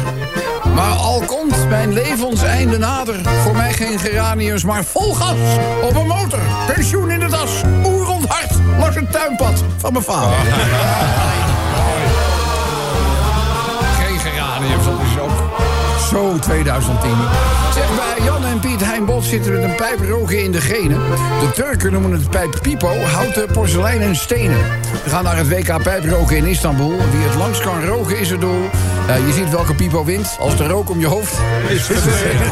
B: Maar al komt mijn levenseinde nader, voor mij geen geraniums, maar vol gas. Op een motor, pensioen in de tas, oerend hart, langs het tuinpad van mijn vader. Geen geraniums, dat is ook zo 2010. Zeg, bij Jan en Piet Heinbot zitten met een pijp roken in de genen. De Turken noemen het pijp Pipo, houten, porselein en stenen. We gaan naar het WK pijproken in Istanbul. Wie het langst kan roken is het doel. Eh, je ziet welke Pipo wint. Als de rook om je hoofd is eh? verdwenen.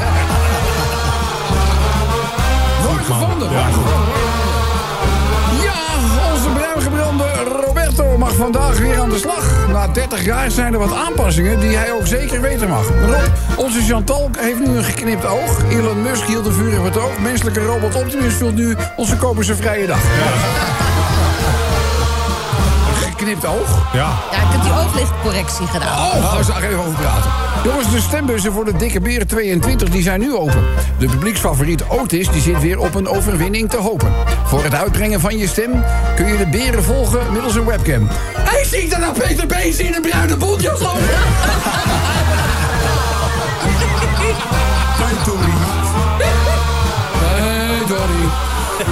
B: Wordt gevonden. wordt gevonden. Ja, onze bruingebrande Roberto mag vandaag weer aan de slag. Na 30 jaar zijn er wat aanpassingen die hij ook zeker weten mag. Rob, onze Chantal heeft nu een geknipt oog. Elon Musk hield een vuur in het oog. Menselijke robot Optimus vult nu onze koperse vrije dag. Een Geknipt oog? Ja.
J: Ja, ik heb die ooglichtcorrectie gedaan.
B: Oh, daar zou ik even over praten. Jongens, de stembussen voor de Dikke Beren 22 die zijn nu open. De publieksfavoriet Otis die zit weer op een overwinning te hopen. Voor het uitbrengen van je stem kun je de beren volgen middels een webcam. Hij ziet er nou Peter Bees in een bruine boeltjas lopen. Hey, Tony. Hey, Tony.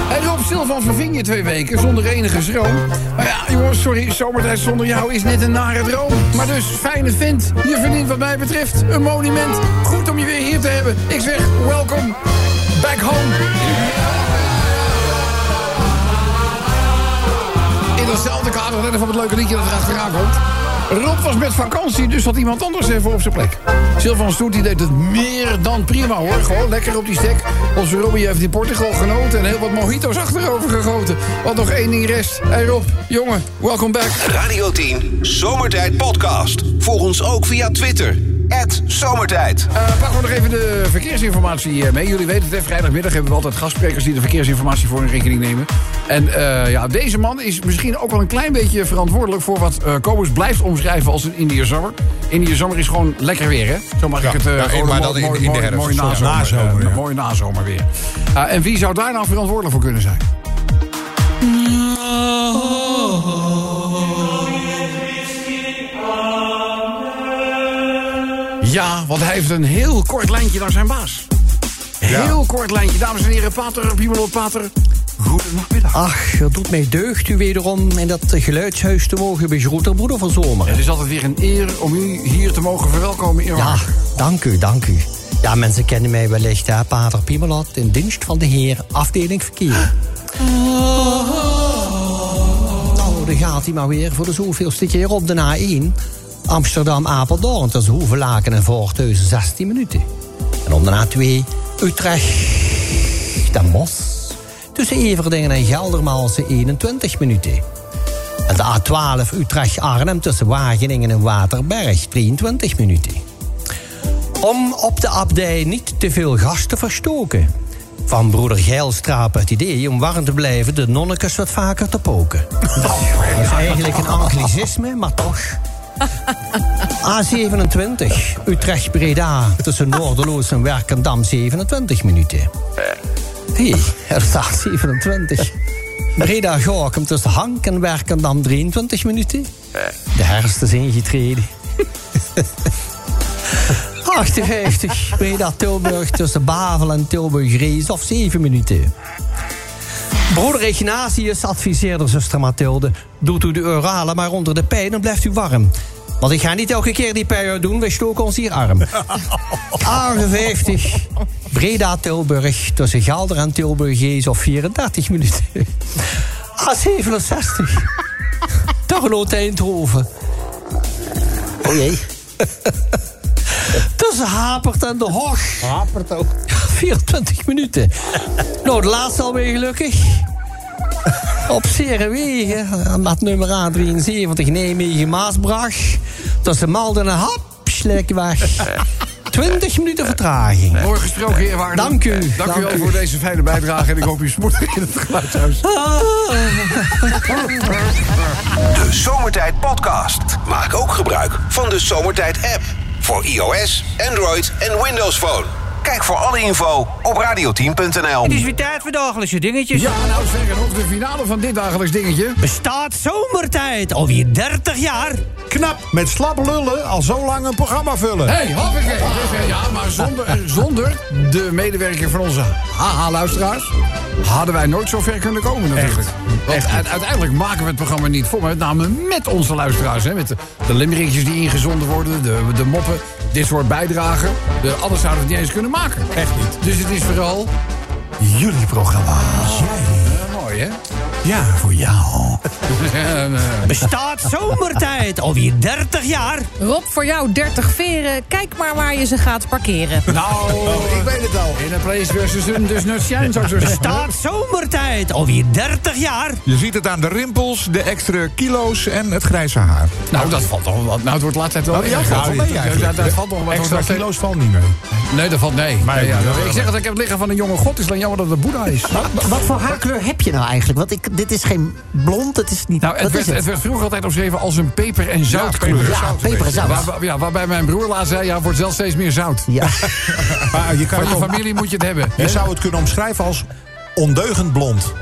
B: En Rob Silvan verving je twee weken zonder enige schroom. Maar ja, jongens, sorry, zomertijd zonder jou is net een nare droom. Maar dus, fijne vent, je verdient wat mij betreft een monument. Goed om je weer hier te hebben. Ik zeg, welkom back home. In datzelfde kader, net even op het leuke liedje dat er achteraan komt. Rob was met vakantie, dus had iemand anders even op zijn plek. Sylvan Stoet die deed het meer dan prima hoor. Gewoon lekker op die stek. Onze Robbie heeft in Portugal genoten en heel wat mojito's achterover gegoten. Wat nog één ding rest. Hey Rob, jongen, welkom back.
A: Radio 10, Zomertijd Podcast. Volg ons ook via Twitter. Zomertijd.
B: Eh, pakken we nog even de verkeersinformatie eh, mee. Jullie weten het, hè, vrijdagmiddag hebben we altijd gastsprekers die de verkeersinformatie voor hun rekening nemen. En eh, ja, deze man is misschien ook wel een klein beetje verantwoordelijk voor wat eh Kobus blijft omschrijven als een Indiër zomer. Indiër zomer is gewoon lekker weer, hè? Zo mag ik het eh,
E: ja,
B: gewoon
E: maar
B: een
E: dan in-
B: mooi-
E: in de
B: mooi-
E: herfst.
B: Mooi
E: Sorry,
B: nazomer,
E: nazomer,
B: eh,
E: ja.
B: een mooie nazomer weer. Ah, en wie zou daar nou verantwoordelijk voor kunnen zijn? Ja, want hij heeft een heel kort lijntje naar zijn baas. Heel kort lijntje. Dames en heren, Pater, Piemelo Pater. Goedemiddag.
C: Ach, het doet mij deugd u wederom in dat geluidshuis te mogen begroeten, broeder van Zomer.
B: Het is altijd weer een eer om u hier te mogen verwelkomen,
C: Ja,
B: Eerwaardig.
C: dank u, dank u.
O: Ja, mensen kennen mij wellicht, hè? Pater Piemelot, in dienst van de heer, afdeling verkeer.
C: Nou, daar gaat hij maar weer voor de zoveelste keer op de A1. Amsterdam-Apeldoorn tussen Hoevelaken en Voorthuizen 16 minuten. En op de A2 Utrecht Den Bosch. Tussen Everdingen en Geldermalsen 21 minuten. En de A12 Utrecht-Arnhem tussen Wageningen en Waterberg 23 minuten. Om op de abdij niet te veel gas te verstoken. Van broeder Geilstraap het idee om warm te blijven de nonnekes wat vaker te poken. Dat is eigenlijk een anglicisme, maar toch. A27, Utrecht-Breda, tussen Noorderloos en Werkendam 27 minuten. Hé, hey, er staat 27. Breda-Gorkum tussen Hank en Werkendam 23 minuten. De herfst is ingetreden. 58, Breda-Tilburg tussen Bavel en Tilburg-Rees of 7 minuten. Broeder Ignatius adviseerde zuster Mathilde... doet u de orale maar onder de pijn en blijft u warm. Want ik ga niet elke keer die pijn doen, wij stoken ons hier arm. 58, Breda-Tilburg tussen Gelder en Tilburg is of 34 minuten. A67, Torlo-Eindhoven. O jee. Tussen Dus Hapert en De Hoog. Hapert ook. 24 minuten. Nou, de laatste alweer gelukkig. Op Serenwegen, aan maat nummer A73, Nijmegen, Maasbrach. Tussen Malden en Hapslekweg. 20 minuten vertraging.
B: Mooi gesproken, eerwaardig.
C: Dank u.
B: Dank, u wel voor deze fijne bijdrage. En ik hoop u smoort in het geluidshuis.
A: De Zomertijd Podcast. Maak ook gebruik van de Zomertijd app. Voor iOS, Android en Windows Phone. Kijk voor alle info op radioteam.nl.
P: Het is weer tijd voor dagelijkse dingetjes.
B: Ja, nou zeg, en op de finale van dit dagelijks dingetje...
P: Bestaat zomertijd alweer 30 jaar.
E: Knap, met slap lullen al zo lang een programma vullen.
B: Hé, hey, hoppakee. Dus, eh, Ja, maar zonder, zonder de medewerking van onze haha-luisteraars... hadden wij nooit zo ver kunnen komen natuurlijk. Want u- uiteindelijk maken we het programma niet voor... maar met name met onze luisteraars. Hè, met de, de limerickjes die ingezonden worden, de, de moppen... dit soort bijdragen. De, anders zouden we het niet eens kunnen maken. Echt niet. Dus het is vooral jullie programma. Eh, mooi, hè? eh,
E: Ja, voor jou.
P: Bestaat zomertijd alweer 30 jaar.
J: Rob, voor jou 30 veren. Kijk maar waar je ze gaat parkeren.
B: Nou, ik weet het al. In een place versus een, dus nut zijn, zou ik <laughs> zo zeggen.
P: Bestaat zomertijd alweer 30 jaar.
I: Je ziet het aan de rimpels, de extra kilo's en het grijze haar.
B: Nou, dat valt toch wel. Nou, het wordt laatst tijd wel.
E: Nou, ja,
B: erger.
E: valt wel mee
B: Ja,
E: eigenlijk.
B: Dat, dat valt nog wel.
E: Extra
B: Dat- dat-
E: kilo's valt niet meer.
B: Nee, dat valt nee.
E: Maar-
B: Nee, ja,
E: ja,
B: dat- Nou,
E: ja,
B: ik zeg dat ik heb het liggen van een jonge god. Het is alleen jammer dat het Boeddha is.
Q: Wat voor haarkleur heb je nou eigenlijk? Want ik, dit is geen blond, het is niet...
B: Nou, het,
Q: wat
B: werd,
Q: is het?
B: het werd vroeger altijd omschreven als een peper- en zoutkleur.
Q: peper- Ja, peper- en zout.
B: Waar- waar- ja, waarbij mijn broer laatst zei, ja, het wordt zelfs steeds meer zout.
Q: Ja.
B: <laughs>
E: Maar eh, je, kan
B: Van
E: het
B: je
E: ook-
B: familie moet je het hebben.
E: je zou het kunnen omschrijven als ondeugend blond.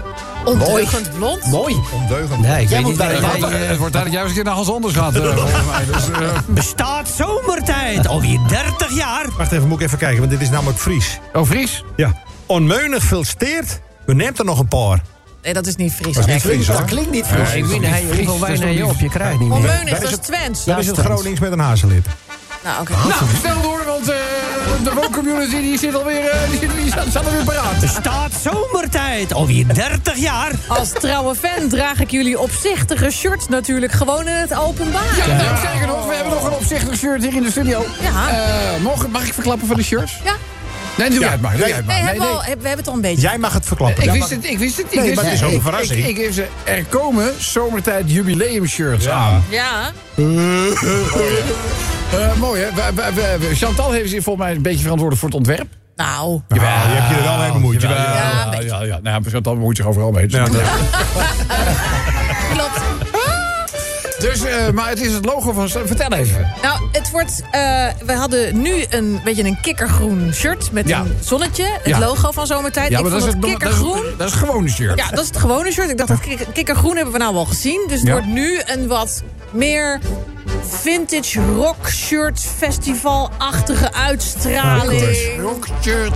J: Ondeugend blond.
E: Mooi. Ondeugend
F: Nee, ik weet niet.
B: Het
F: Nee,
B: wordt-
C: <laughs>
B: Het wordt duidelijk, jij eh, eens een keer naar Hans Anders gaat. eh, volgens mij. Dus, eh,
P: Bestaat zomertijd alweer 30 jaar.
E: Wacht even, moet ik even kijken, want dit is namelijk Fries.
B: oh, Fries?
E: Ja. Onmeunig veel steert, we neemt er nog een paar.
J: Nee, dat is niet Fries.
E: Dat is niet
J: Nee,
E: Fries, hoor.
Q: Dat klinkt niet Fries.
P: Ik win hij hoeveel wijn hij op, je krijgt niet meer.
J: Onmeunig, dat is Twents.
E: Dat is het Gronings met een hazenlip.
J: Nou, oké.
B: Nou, snel door, want eh, de wooncommunity die zit alweer, eh, die, die staat staat alweer paraat.
P: Bestaat zomertijd alweer 30 jaar.
J: Als trouwe fan draag ik jullie opzichtige shirts natuurlijk gewoon in het openbaar.
B: Ja, nou, zeker nog. We hebben nog een opzichtig shirt hier in de studio.
J: Ja.
B: Eh, mag, mag ik verklappen van de shirts?
J: Ja.
B: Nou, Nee, doe
E: Ja,
B: jij het maar. doe
E: nee.
B: jij het
J: Nee,
B: maar.
J: hebben we, al, heb- we hebben het al een beetje.
E: Jij mag het verklappen.
B: Ik
E: Ja,
B: wist
E: maar-
B: het, ik wist het. Ik
E: Nee,
B: wist
E: maar het is ook een
B: Ik-
E: verrassing.
B: Ik, ik, geef ze, er komen zomertijd jubileum shirts aan.
J: Ja.
B: Eh, mooi, hè? We- we- we- we- Chantal heeft zich volgens mij een beetje verantwoordelijk voor het ontwerp.
J: Nou.
E: Jawel, je hebt je er wel mee bemoeid. jawel.
J: Ja, een beetje.
B: ja, ja. Nou, ja, Chantal moet zich overal mee. Dus,
J: Klopt.
B: dus, eh, maar het is het logo van... Vertel even.
J: Nou, het wordt. eh, we hadden nu een beetje een kikkergroen shirt met
B: Ja.
J: een zonnetje. Het
B: Ja.
J: logo van zomertijd. ik vond het
B: dat is,
J: kikkergroen.
B: dat is gewoon een shirt.
J: Ja, dat is het gewone shirt. Ik dacht, dat kik- kikkergroen hebben we nou wel gezien. Dus het
B: Ja.
J: wordt nu een wat meer vintage rock shirt
B: Oh,
J: festival-achtige uitstraling.
B: Rockshirt.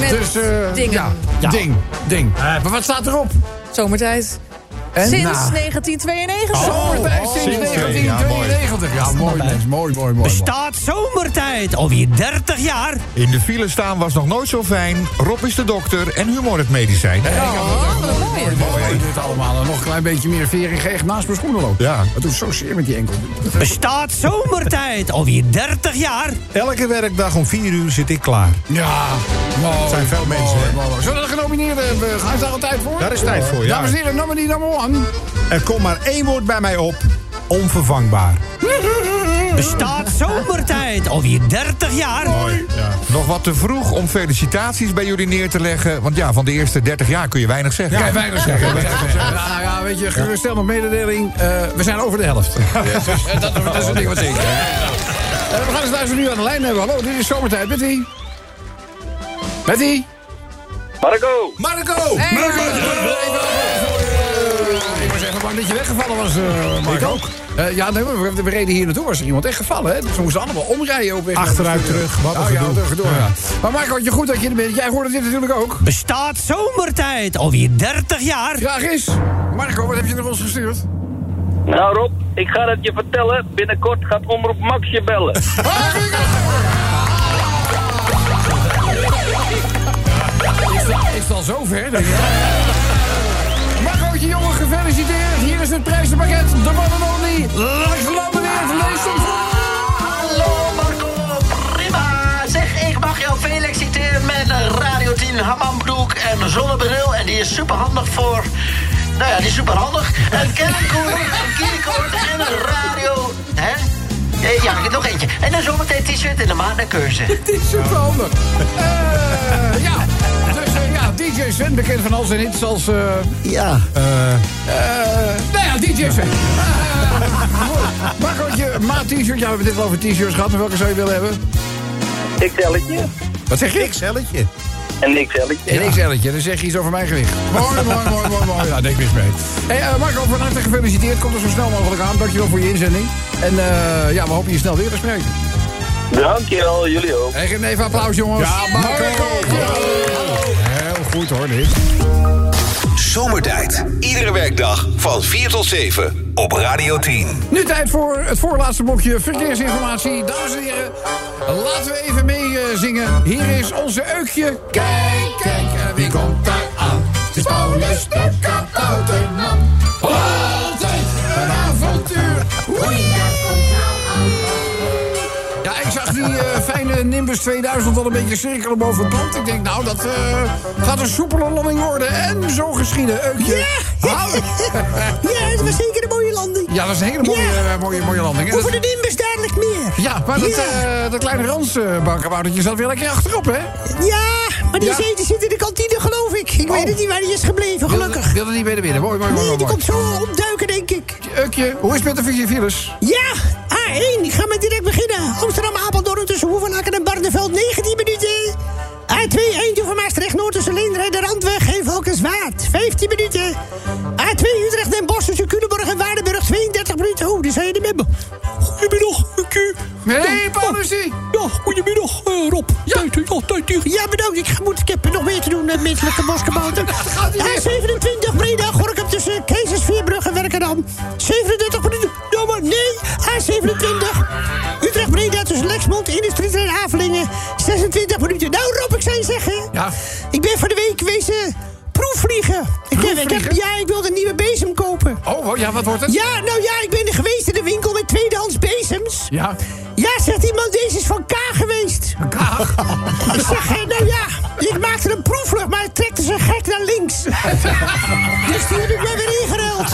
J: Met
B: Dus, eh,
J: dingen.
B: ja, Ding, ding. maar wat staat erop?
J: Zomertijd.
B: En?
J: Sinds
B: Nou.
J: 1992.
B: Zomertijd sinds
E: sinds
B: 1992. Ja, mooi, mens. Mooi, mooi, mooi. mooi.
P: Bestaat zomertijd alweer 30 jaar.
I: In de file staan was nog nooit zo fijn. Rob is de dokter en humor het medicijn.
J: Oh, wat een mooie.
B: Mooi dit allemaal. En nog een klein beetje meer vering geeft naast mijn schoenen lopen.
I: Ja.
B: Het doet zo zeer met die enkel.
P: Bestaat zomertijd alweer 30 jaar.
E: Elke werkdag om 4 uur zit ik klaar.
B: Ja, mooi.
E: zijn veel
B: mooi,
E: mensen, hè?
B: mooi, mooi. Zullen we de genomineerden hebben? Gaan ze daar al tijd voor?
E: Daar is tijd voor, ja.
B: Dames en heren, nummer die nummer one.
E: Er komt maar één woord bij mij op. Onvervangbaar.
P: Bestaat zomertijd alweer 30 jaar.
I: Nog wat te vroeg om felicitaties bij jullie neer te leggen. Want ja, van de eerste 30 jaar kun je weinig zeggen.
B: Ja, weinig
E: <laughs>
B: zeggen. Nou ja, weet je, geruststel nog mededeling. Eh, we zijn over de helft. Eh, dat, dat is het ding wat zeker. Eh, we gaan eens luisteren nu aan de lijn hebben. Hallo, dit is zomertijd. Met wie? Met wie?
L: Marco!
I: Marco!
B: eh, Ik was even bang dat je weggevallen was, eh Marco. Ik ook. ja, nee, maar we, we reden hier naartoe. Was er iemand echt gevallen, hè? Dus we moesten allemaal omrijden op weg. naar de
E: Achteruit,
B: studio.
E: terug, wat een
B: Nou ja,
E: gedoe.
B: wat gedoe, ja. Maar Marco, je goed dat je er bent. Jij hoorde dit natuurlijk ook.
P: Bestaat zomertijd alweer 30 jaar.
B: Graag is. Marco, wat heb je naar ons gestuurd?
L: Nou Rob, ik ga het je vertellen. Binnenkort gaat Omroep Max je
B: <laughs>
L: bellen.
B: nou Is het, is het al zover? denk ik. Marcootje, jongen, gefeliciteerd. Hier is het prijzenpakket. De one and only. Lex Lambeweert, lees hem
L: Hallo Marco, prima. Zeg, ik mag jou feliciteren met een Radio 10 hammambroek en zonnebril. En die is superhandig voor... Nou ja, die is superhandig. Een kennenkoord, een keycord en een radio. Hè? Eh, Ja, ik heb nog eentje. En een zometeen t-shirt en een maand naar keuze.
B: Het is superhandig. Eh, ja. Dus eh, ja, DJ Sven, bekend van al zijn hits als... eh
Q: Ja.
B: eh, nou ja, DJ Sven. Uh, Marcootje, maat t-shirt. Ja, we hebben dit al over t-shirts gehad. Maar welke zou je willen hebben?
L: Ik tel het je.
B: Wat zeg je? XL'tje.
R: Een XL'tje.
B: Een XL'tje, dan zeg je iets over mijn gewicht. Mooi, mooi, mooi, mooi, mooi. Ja, denk mis mee. Hey, eh, Marco, van harte gefeliciteerd. Kom er zo snel mogelijk aan. Dankjewel voor je inzending. En eh, ja, we hopen je snel weer te spreken.
R: Dankjewel, jullie ook.
B: Hey, geef hem even applaus, jongens. Ja, Marco. Heel goed hoor, dit.
A: Zomertijd. Iedere werkdag van 4 tot 7 op Radio 10.
B: Nu tijd voor het voorlaatste blokje verkeersinformatie. Dames en heren, laten we even meezingen. zingen. Hier is onze Eukje. Kijk, kijk, eh, wie komt daar aan? Het is Paulus de kabouterman. Altijd een avontuur. Oei. nou Ja, ik zag die eh, fijne Nimbus 2000 al een beetje cirkelen boven het land. Ik denk, nou, dat eh, gaat een soepele landing worden. En zo geschieden, Eukje. Hou-
H: <laughs> Ja, het was zeker een mooie landing.
B: Ja, dat is een hele mooie,
H: Ja.
B: eh, mooie, mooie landing. hè?
H: Over de
B: Dat-
H: Nimbus dadelijk meer.
B: Ja, maar dat,
H: Ja.
B: eh, dat kleine ransbankenbouwtje zat weer lekker achterop, hè?
H: Ja, maar die
B: Ja. Oh.
H: is eten zit in de kantine, geloof ik. Ik weet het niet waar die is gebleven, gelukkig.
B: Wilde, wilde niet meer naar binnen. Mooi, mooi, mooi.
H: Nee,
B: mooi,
H: die
B: mooi.
H: komt zo opduiken, denk ik.
B: Ukje, hoe is het met de vier virus?
H: Ja, A1. Ik ga maar direct beginnen. Amsterdam, Apeldoorn tussen Hoevenaken en Barneveld. 19 minuten. A2, Eindhoven, Maastricht, Noord tussen Leenderen, de Randweg en Valkenswaard. 15 minuten. A2, Utrecht en Bos tussen Culemborg en Waardenburg. 32 minuten. Oh, die zijn je niet met me. Goedemiddag, Q.
B: Nee, Paulusie.
H: Ja, goedemiddag, eh, Rob. Ja. Tijd, ja, tijd, hier. ja, bedankt. Ik, moet, ik heb nog meer te doen met menselijke <laughs> boskabouter. A27, Breda, Gorkum tussen Keizersveerbrug en Werkendam. 37 minuten. Ja, maar nee. A27, Utrecht, Breda tussen Lexmond, Industrieterrein Havelingen. 26 minuten. Nou, Rob, ik zou je zeggen.
B: Ja.
H: Ik ben van de week wezen proefvliegen. Ik heb, ik heb,
B: Proefvliegen?
H: ja, ik wilde een nieuwe bezem kopen.
B: Oh, oh, ja, wat wordt het?
H: Ja, nou ja, ik ben er geweest in de winkel met tweedehands bezems.
B: Ja.
H: Ja, zegt iemand, deze is van K geweest.
B: K?
H: ik zeg, eh, nou ja, ik maakte een proefvlucht, maar het trekte ze gek naar links. dus die heb ik mij weer ingeruild.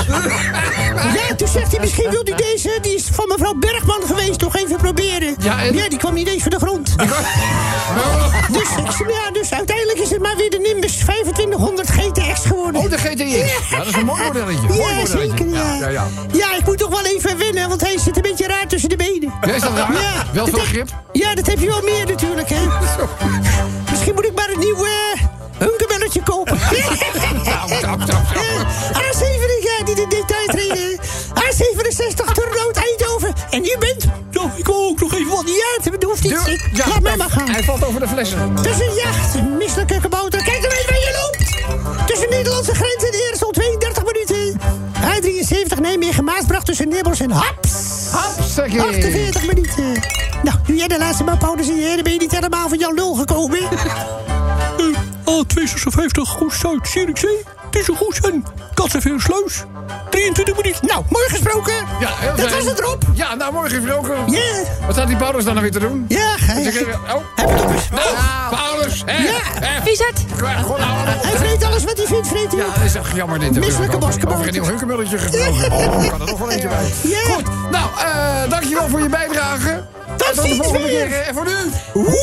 H: ja, toen zegt hij, misschien wilt u deze, die is van mevrouw Bergman geweest, nog even proberen.
B: Ja, en-
H: die kwam niet eens van de grond. dus, ik, zeg, ja, dus uiteindelijk is het maar weer de Nimbus 2500 GTX geworden.
B: Oh, de GTX. Ja, dat is een mooi modelletje.
H: Ja,
B: Mooi modelletje.
H: zeker, ja.
B: Ja, ja, ja.
H: Ja, ik moet toch wel even wennen, want hij zit een beetje raar tussen de benen.
B: Ja, is dat raar?
H: Ja,
B: Wel
H: dat
B: veel
H: heb-
B: grip?
H: Ja, dat heb je wel meer natuurlijk,
B: <laughs>
H: hè. Misschien moet ik maar een nieuw eh hunkerbelletje
B: <laughs>
H: kopen.
B: Nou,
H: Eh, A7, ja, die de detailtreden. A67, Turnhout, Eindhoven. En u bent... Nou, ik wil ook nog even wat. Ja, dat hoeft niet.
B: Doe-
H: Ik,
B: ja,
H: laat mij
B: hij-
H: maar gaan.
B: Hij valt over de flessen.
H: Dat is een jacht, een misselijke kabouter. Kijk dan eens waar je loopt. Tussen Nederlandse grens en Eersel, 32 minuten. A73 Nijmegen, Maasbracht tussen Nibbels en Haps.
B: Hapsakee.
H: 48 minuten. Nou, nu jij de laatste maal Paulus in je heren, ben je niet helemaal van jouw lul
B: <laughs>
H: gekomen.
B: Eh,
P: A256, Goes Zuid, Zierikzee. Tussen Goes en Kattenveersluis. 23 minuten.
H: Nou, mooi gesproken.
B: Ja, heel
H: Dat
B: fijn.
H: was het, Rob.
B: Ja, nou, mooi gesproken.
H: Ja,
B: Wat staat die Paulus dan nou weer te doen?
H: ja.
B: Dus
H: Hij,
B: ik- Oh, nou, Paulus. Hè, hè.
J: Wie is het?
B: Gewoon nou allemaal.
H: hij vreet alles wat hij vindt, vreet hij.
B: Ja, dat is echt jammer dit.
H: Misselijke
B: Over
H: basketbal.
B: een nieuw hunkermulletje gesproken. Oh, kan er nog wel eentje bij.
H: Ja.
B: Goed, nou, eh, dankjewel voor je bijdrage.
H: Tot
B: En tot de
H: ziens
B: volgende
H: weer.
B: keer. En voor nu...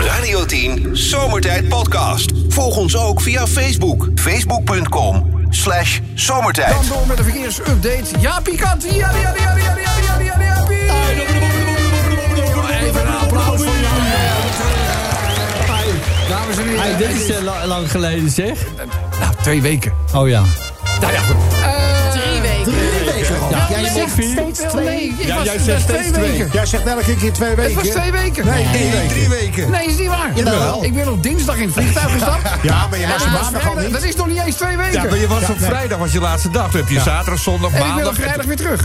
A: Radio 10 Zomertijd Podcast. Volg ons ook via Facebook. Facebook.com slash zomertijd.
B: Dan door met een verkeersupdate. Ja, pikant. Ja, ja, ja, ja, ja, ja, ja, ja, ja, pie. Even een applaus voor jou. Dames en heren.
F: Hey, dit is eh, la- lang geleden, zeg.
B: Nou, twee weken.
F: Oh ja.
B: Nou ja, goed.
J: Drie weken.
F: Ja,
B: Ja,
F: jij
B: ik
F: zegt
B: weet
F: vier.
B: wel, nee, ik
E: Ja,
B: was-
E: jij
B: dat
E: zegt
B: is
E: steeds twee. Jij zegt elke keer twee
B: Het
E: weken.
B: was twee weken.
E: Nee, drie weken.
B: Nee, is niet waar.
E: Jawel.
B: Ik ben op dinsdag in het vliegtuig gestapt.
E: Ja, maar je was
B: En
E: op maandag
B: vrijdag-
E: al niet.
B: Dat is nog niet eens twee weken.
I: Ja, maar je was op vrijdag was je laatste dag. Dan heb je zaterdag, zondag,
B: en ik ben op
I: maandag.
B: vrijdag weer terug.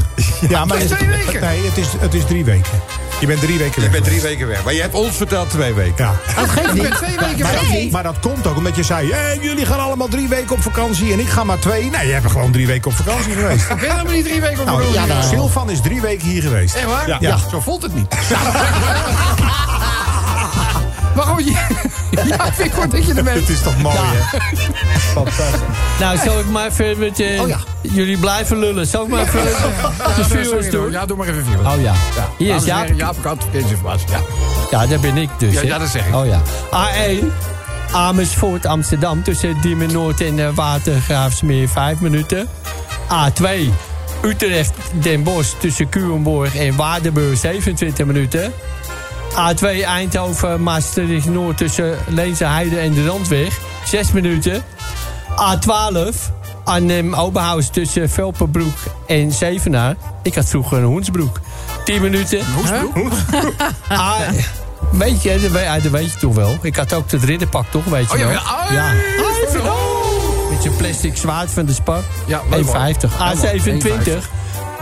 E: Ja, maar
B: Dat is
E: het-
B: twee weken.
E: Nee, het is, het is drie weken. Je bent drie weken
I: Je
E: weg.
I: bent drie weken weg. Maar je hebt ons verteld twee weken.
E: Ja.
F: Oh,
B: Dat geeft niet. twee weken
E: Maar,
B: vrij.
E: dat, maar dat komt ook omdat je zei... Hey, jullie gaan allemaal drie weken op vakantie en ik ga maar twee. Nee, je hebt gewoon drie weken op vakantie geweest.
B: Ik ben helemaal niet drie weken op de
E: Nou,
B: road.
E: ja, Silvan is drie weken hier geweest.
B: Echt waar?
E: Ja.
B: Zo voelt het
E: <laughs>
B: niet. maar goed, je- <laughs> ja, vind ik goed dat je er bent.
E: Het is toch mooi, hè? Fantastisch.
F: Nou, zal ik maar even met... eh, Jullie blijven lullen. Zal ik maar even de
B: sorry,
F: viewers
B: hoor.
F: doen?
B: Ja, doe maar even viewers.
F: Oh ja. Hier
B: Dames
F: is
B: en heren,
F: Jaap.
B: Jaap Kat, verkeersinformatie. Ja.
F: Ja, dat ben ik dus.
B: Ja,
F: hè?
B: ja, dat zeg ik.
F: Oh ja. A1, Amersfoort, Amsterdam. Tussen Diemen Noord en eh, Watergraafsmeer, 5 minuten. A2, Utrecht, Den Bosch. Tussen Culemborg en Waardenburg, 27 minuten. A2 Eindhoven, Maastricht Noord tussen Leense Heide en de Randweg. 6 minuten. A12 Arnhem Oberhaus tussen Velpenbroek en Zevenaar. Ik had vroeger een Hoensbroek. 10 minuten. Hoensbroek? Ah, weet je, dat weet, ah, dat weet je toch wel. Ik had ook het ridderpak toch, weet je
H: Oh ja,
F: wel.
H: ja. Ai,
F: Met zijn plastic zwaard van de Spar.
B: Oh! Ja, leuk, hoor.
F: 1,50.
B: Ja, man.
F: A27.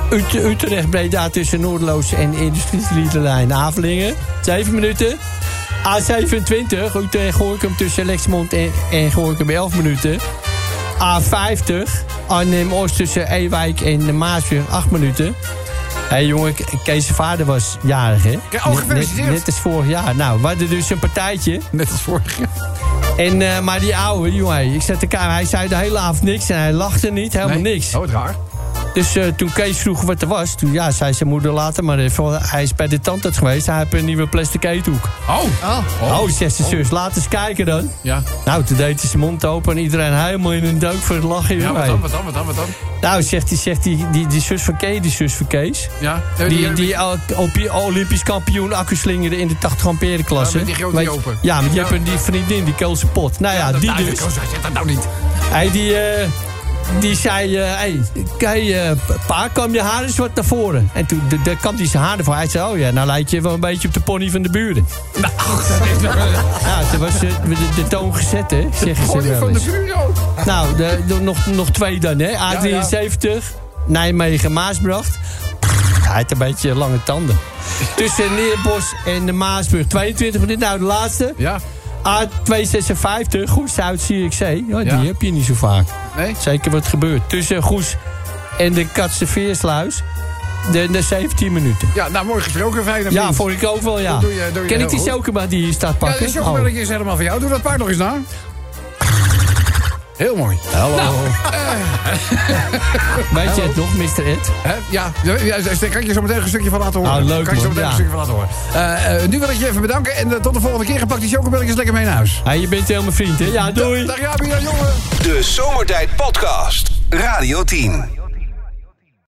F: Ut- Utrecht, Breda tussen Noordloos en Industrielijn Avelingen. 7 minuten. A27, Utrecht, Gorkum tussen Lexmond en, en Gorkum 11 minuten. A50, Arnhem-Oost tussen Ewijk en Maasweer 8 minuten. Hé hey, jongen, K- Kees' zijn vader was jarig hè?
B: Ke- oh,
F: Net-
B: gefeliciteerd.
F: Net, net als vorig jaar. Nou, we hadden dus een partijtje. Net als vorig jaar. En, eh, maar die ouwe, die jongen, ik zette elkaar, hij zei de hele avond niks en hij lachte niet, helemaal niks. Oh, raar. Dus eh, toen Kees vroeg wat er was, toen ja, zei zijn moeder later maar even, want hij is bij de tandarts geweest, hij heeft een nieuwe plastic eethoek. Oh! Oh, zegt zijn zus, laat eens kijken dan.
B: Ja.
F: Nou, toen deed hij zijn mond open en iedereen helemaal in een deuk voor het lachen.
B: Ja,
F: jongen.
B: wat dan, wat dan, wat dan, wat dan?
F: Nou, zegt, die, zegt die, die, die zus van Kees, die zus van Kees.
B: Ja, eh,
F: Die,
B: die-
F: die, al- op- Olympisch kampioen accu slingerde in de 80 ampère klasse.
B: Ja, met die grote
F: Weet-
B: die open.
F: Ja, maar die
B: Ja.
F: hebben die vriendin, die koos zijn pot. Nou ja, die dus.
B: Zeg dat nou niet.
F: Hij die, eh, die zei, eh hey, hey, eh, pa, kwam je haar eens wat naar voren? En toen de, de, kwam hij zijn haar ervoor. Hij zei, oh ja, nou lijkt je wel een beetje op de pony van de buren.
B: <laughs>
F: Nou, ja, toen was de, de, de toon gezet, hè, zeggen ze wel eens. Nou, de, de- nog, nog twee dan, hè. A73, Nijmegen, Maasbracht. Hij heeft een beetje lange
B: <laughs>
F: tanden. Tussen Neerbos en de Maasburg. 22 minuten, nou de laatste.
B: Ja.
F: A256, Goes uit Zierikzee. Ja, die
B: Ja.
F: heb je niet zo vaak. Zeker wat gebeurt. Tussen Goes en de Katseveersluis. De, de 17 minuten.
B: Ja, nou, mooi gesproken, fijn.
F: Ja, vond ik ook wel, ja.
B: Dat doe je- doe je
F: Ken ik
B: heel
F: die
B: goed.
F: chocomel die hier staat
B: Ja, dus
F: pakken? Oh.
B: de chocomelletje is helemaal van jou. Doe dat paard nog eens na. Heel mooi.
F: Hallo. Weet je
B: Hallo.
F: het nog, Mr. Ed?
B: Hè? Ja, ja, daar kan ik je zo meteen een stukje van laten horen.
F: Ah, leuk,
B: kan ik zo
F: man.
B: meteen
F: Ja.
B: een stukje van laten horen. Eh, eh, nu wil ik je even bedanken en eh, tot de volgende keer. En Pak die chocobelletjes lekker mee naar huis.
F: Hé, je bent helemaal vriend, hè? Ja, doei.
B: Dag Jabi, ja, jongen.
A: De Zomertijd Podcast. Radio 10.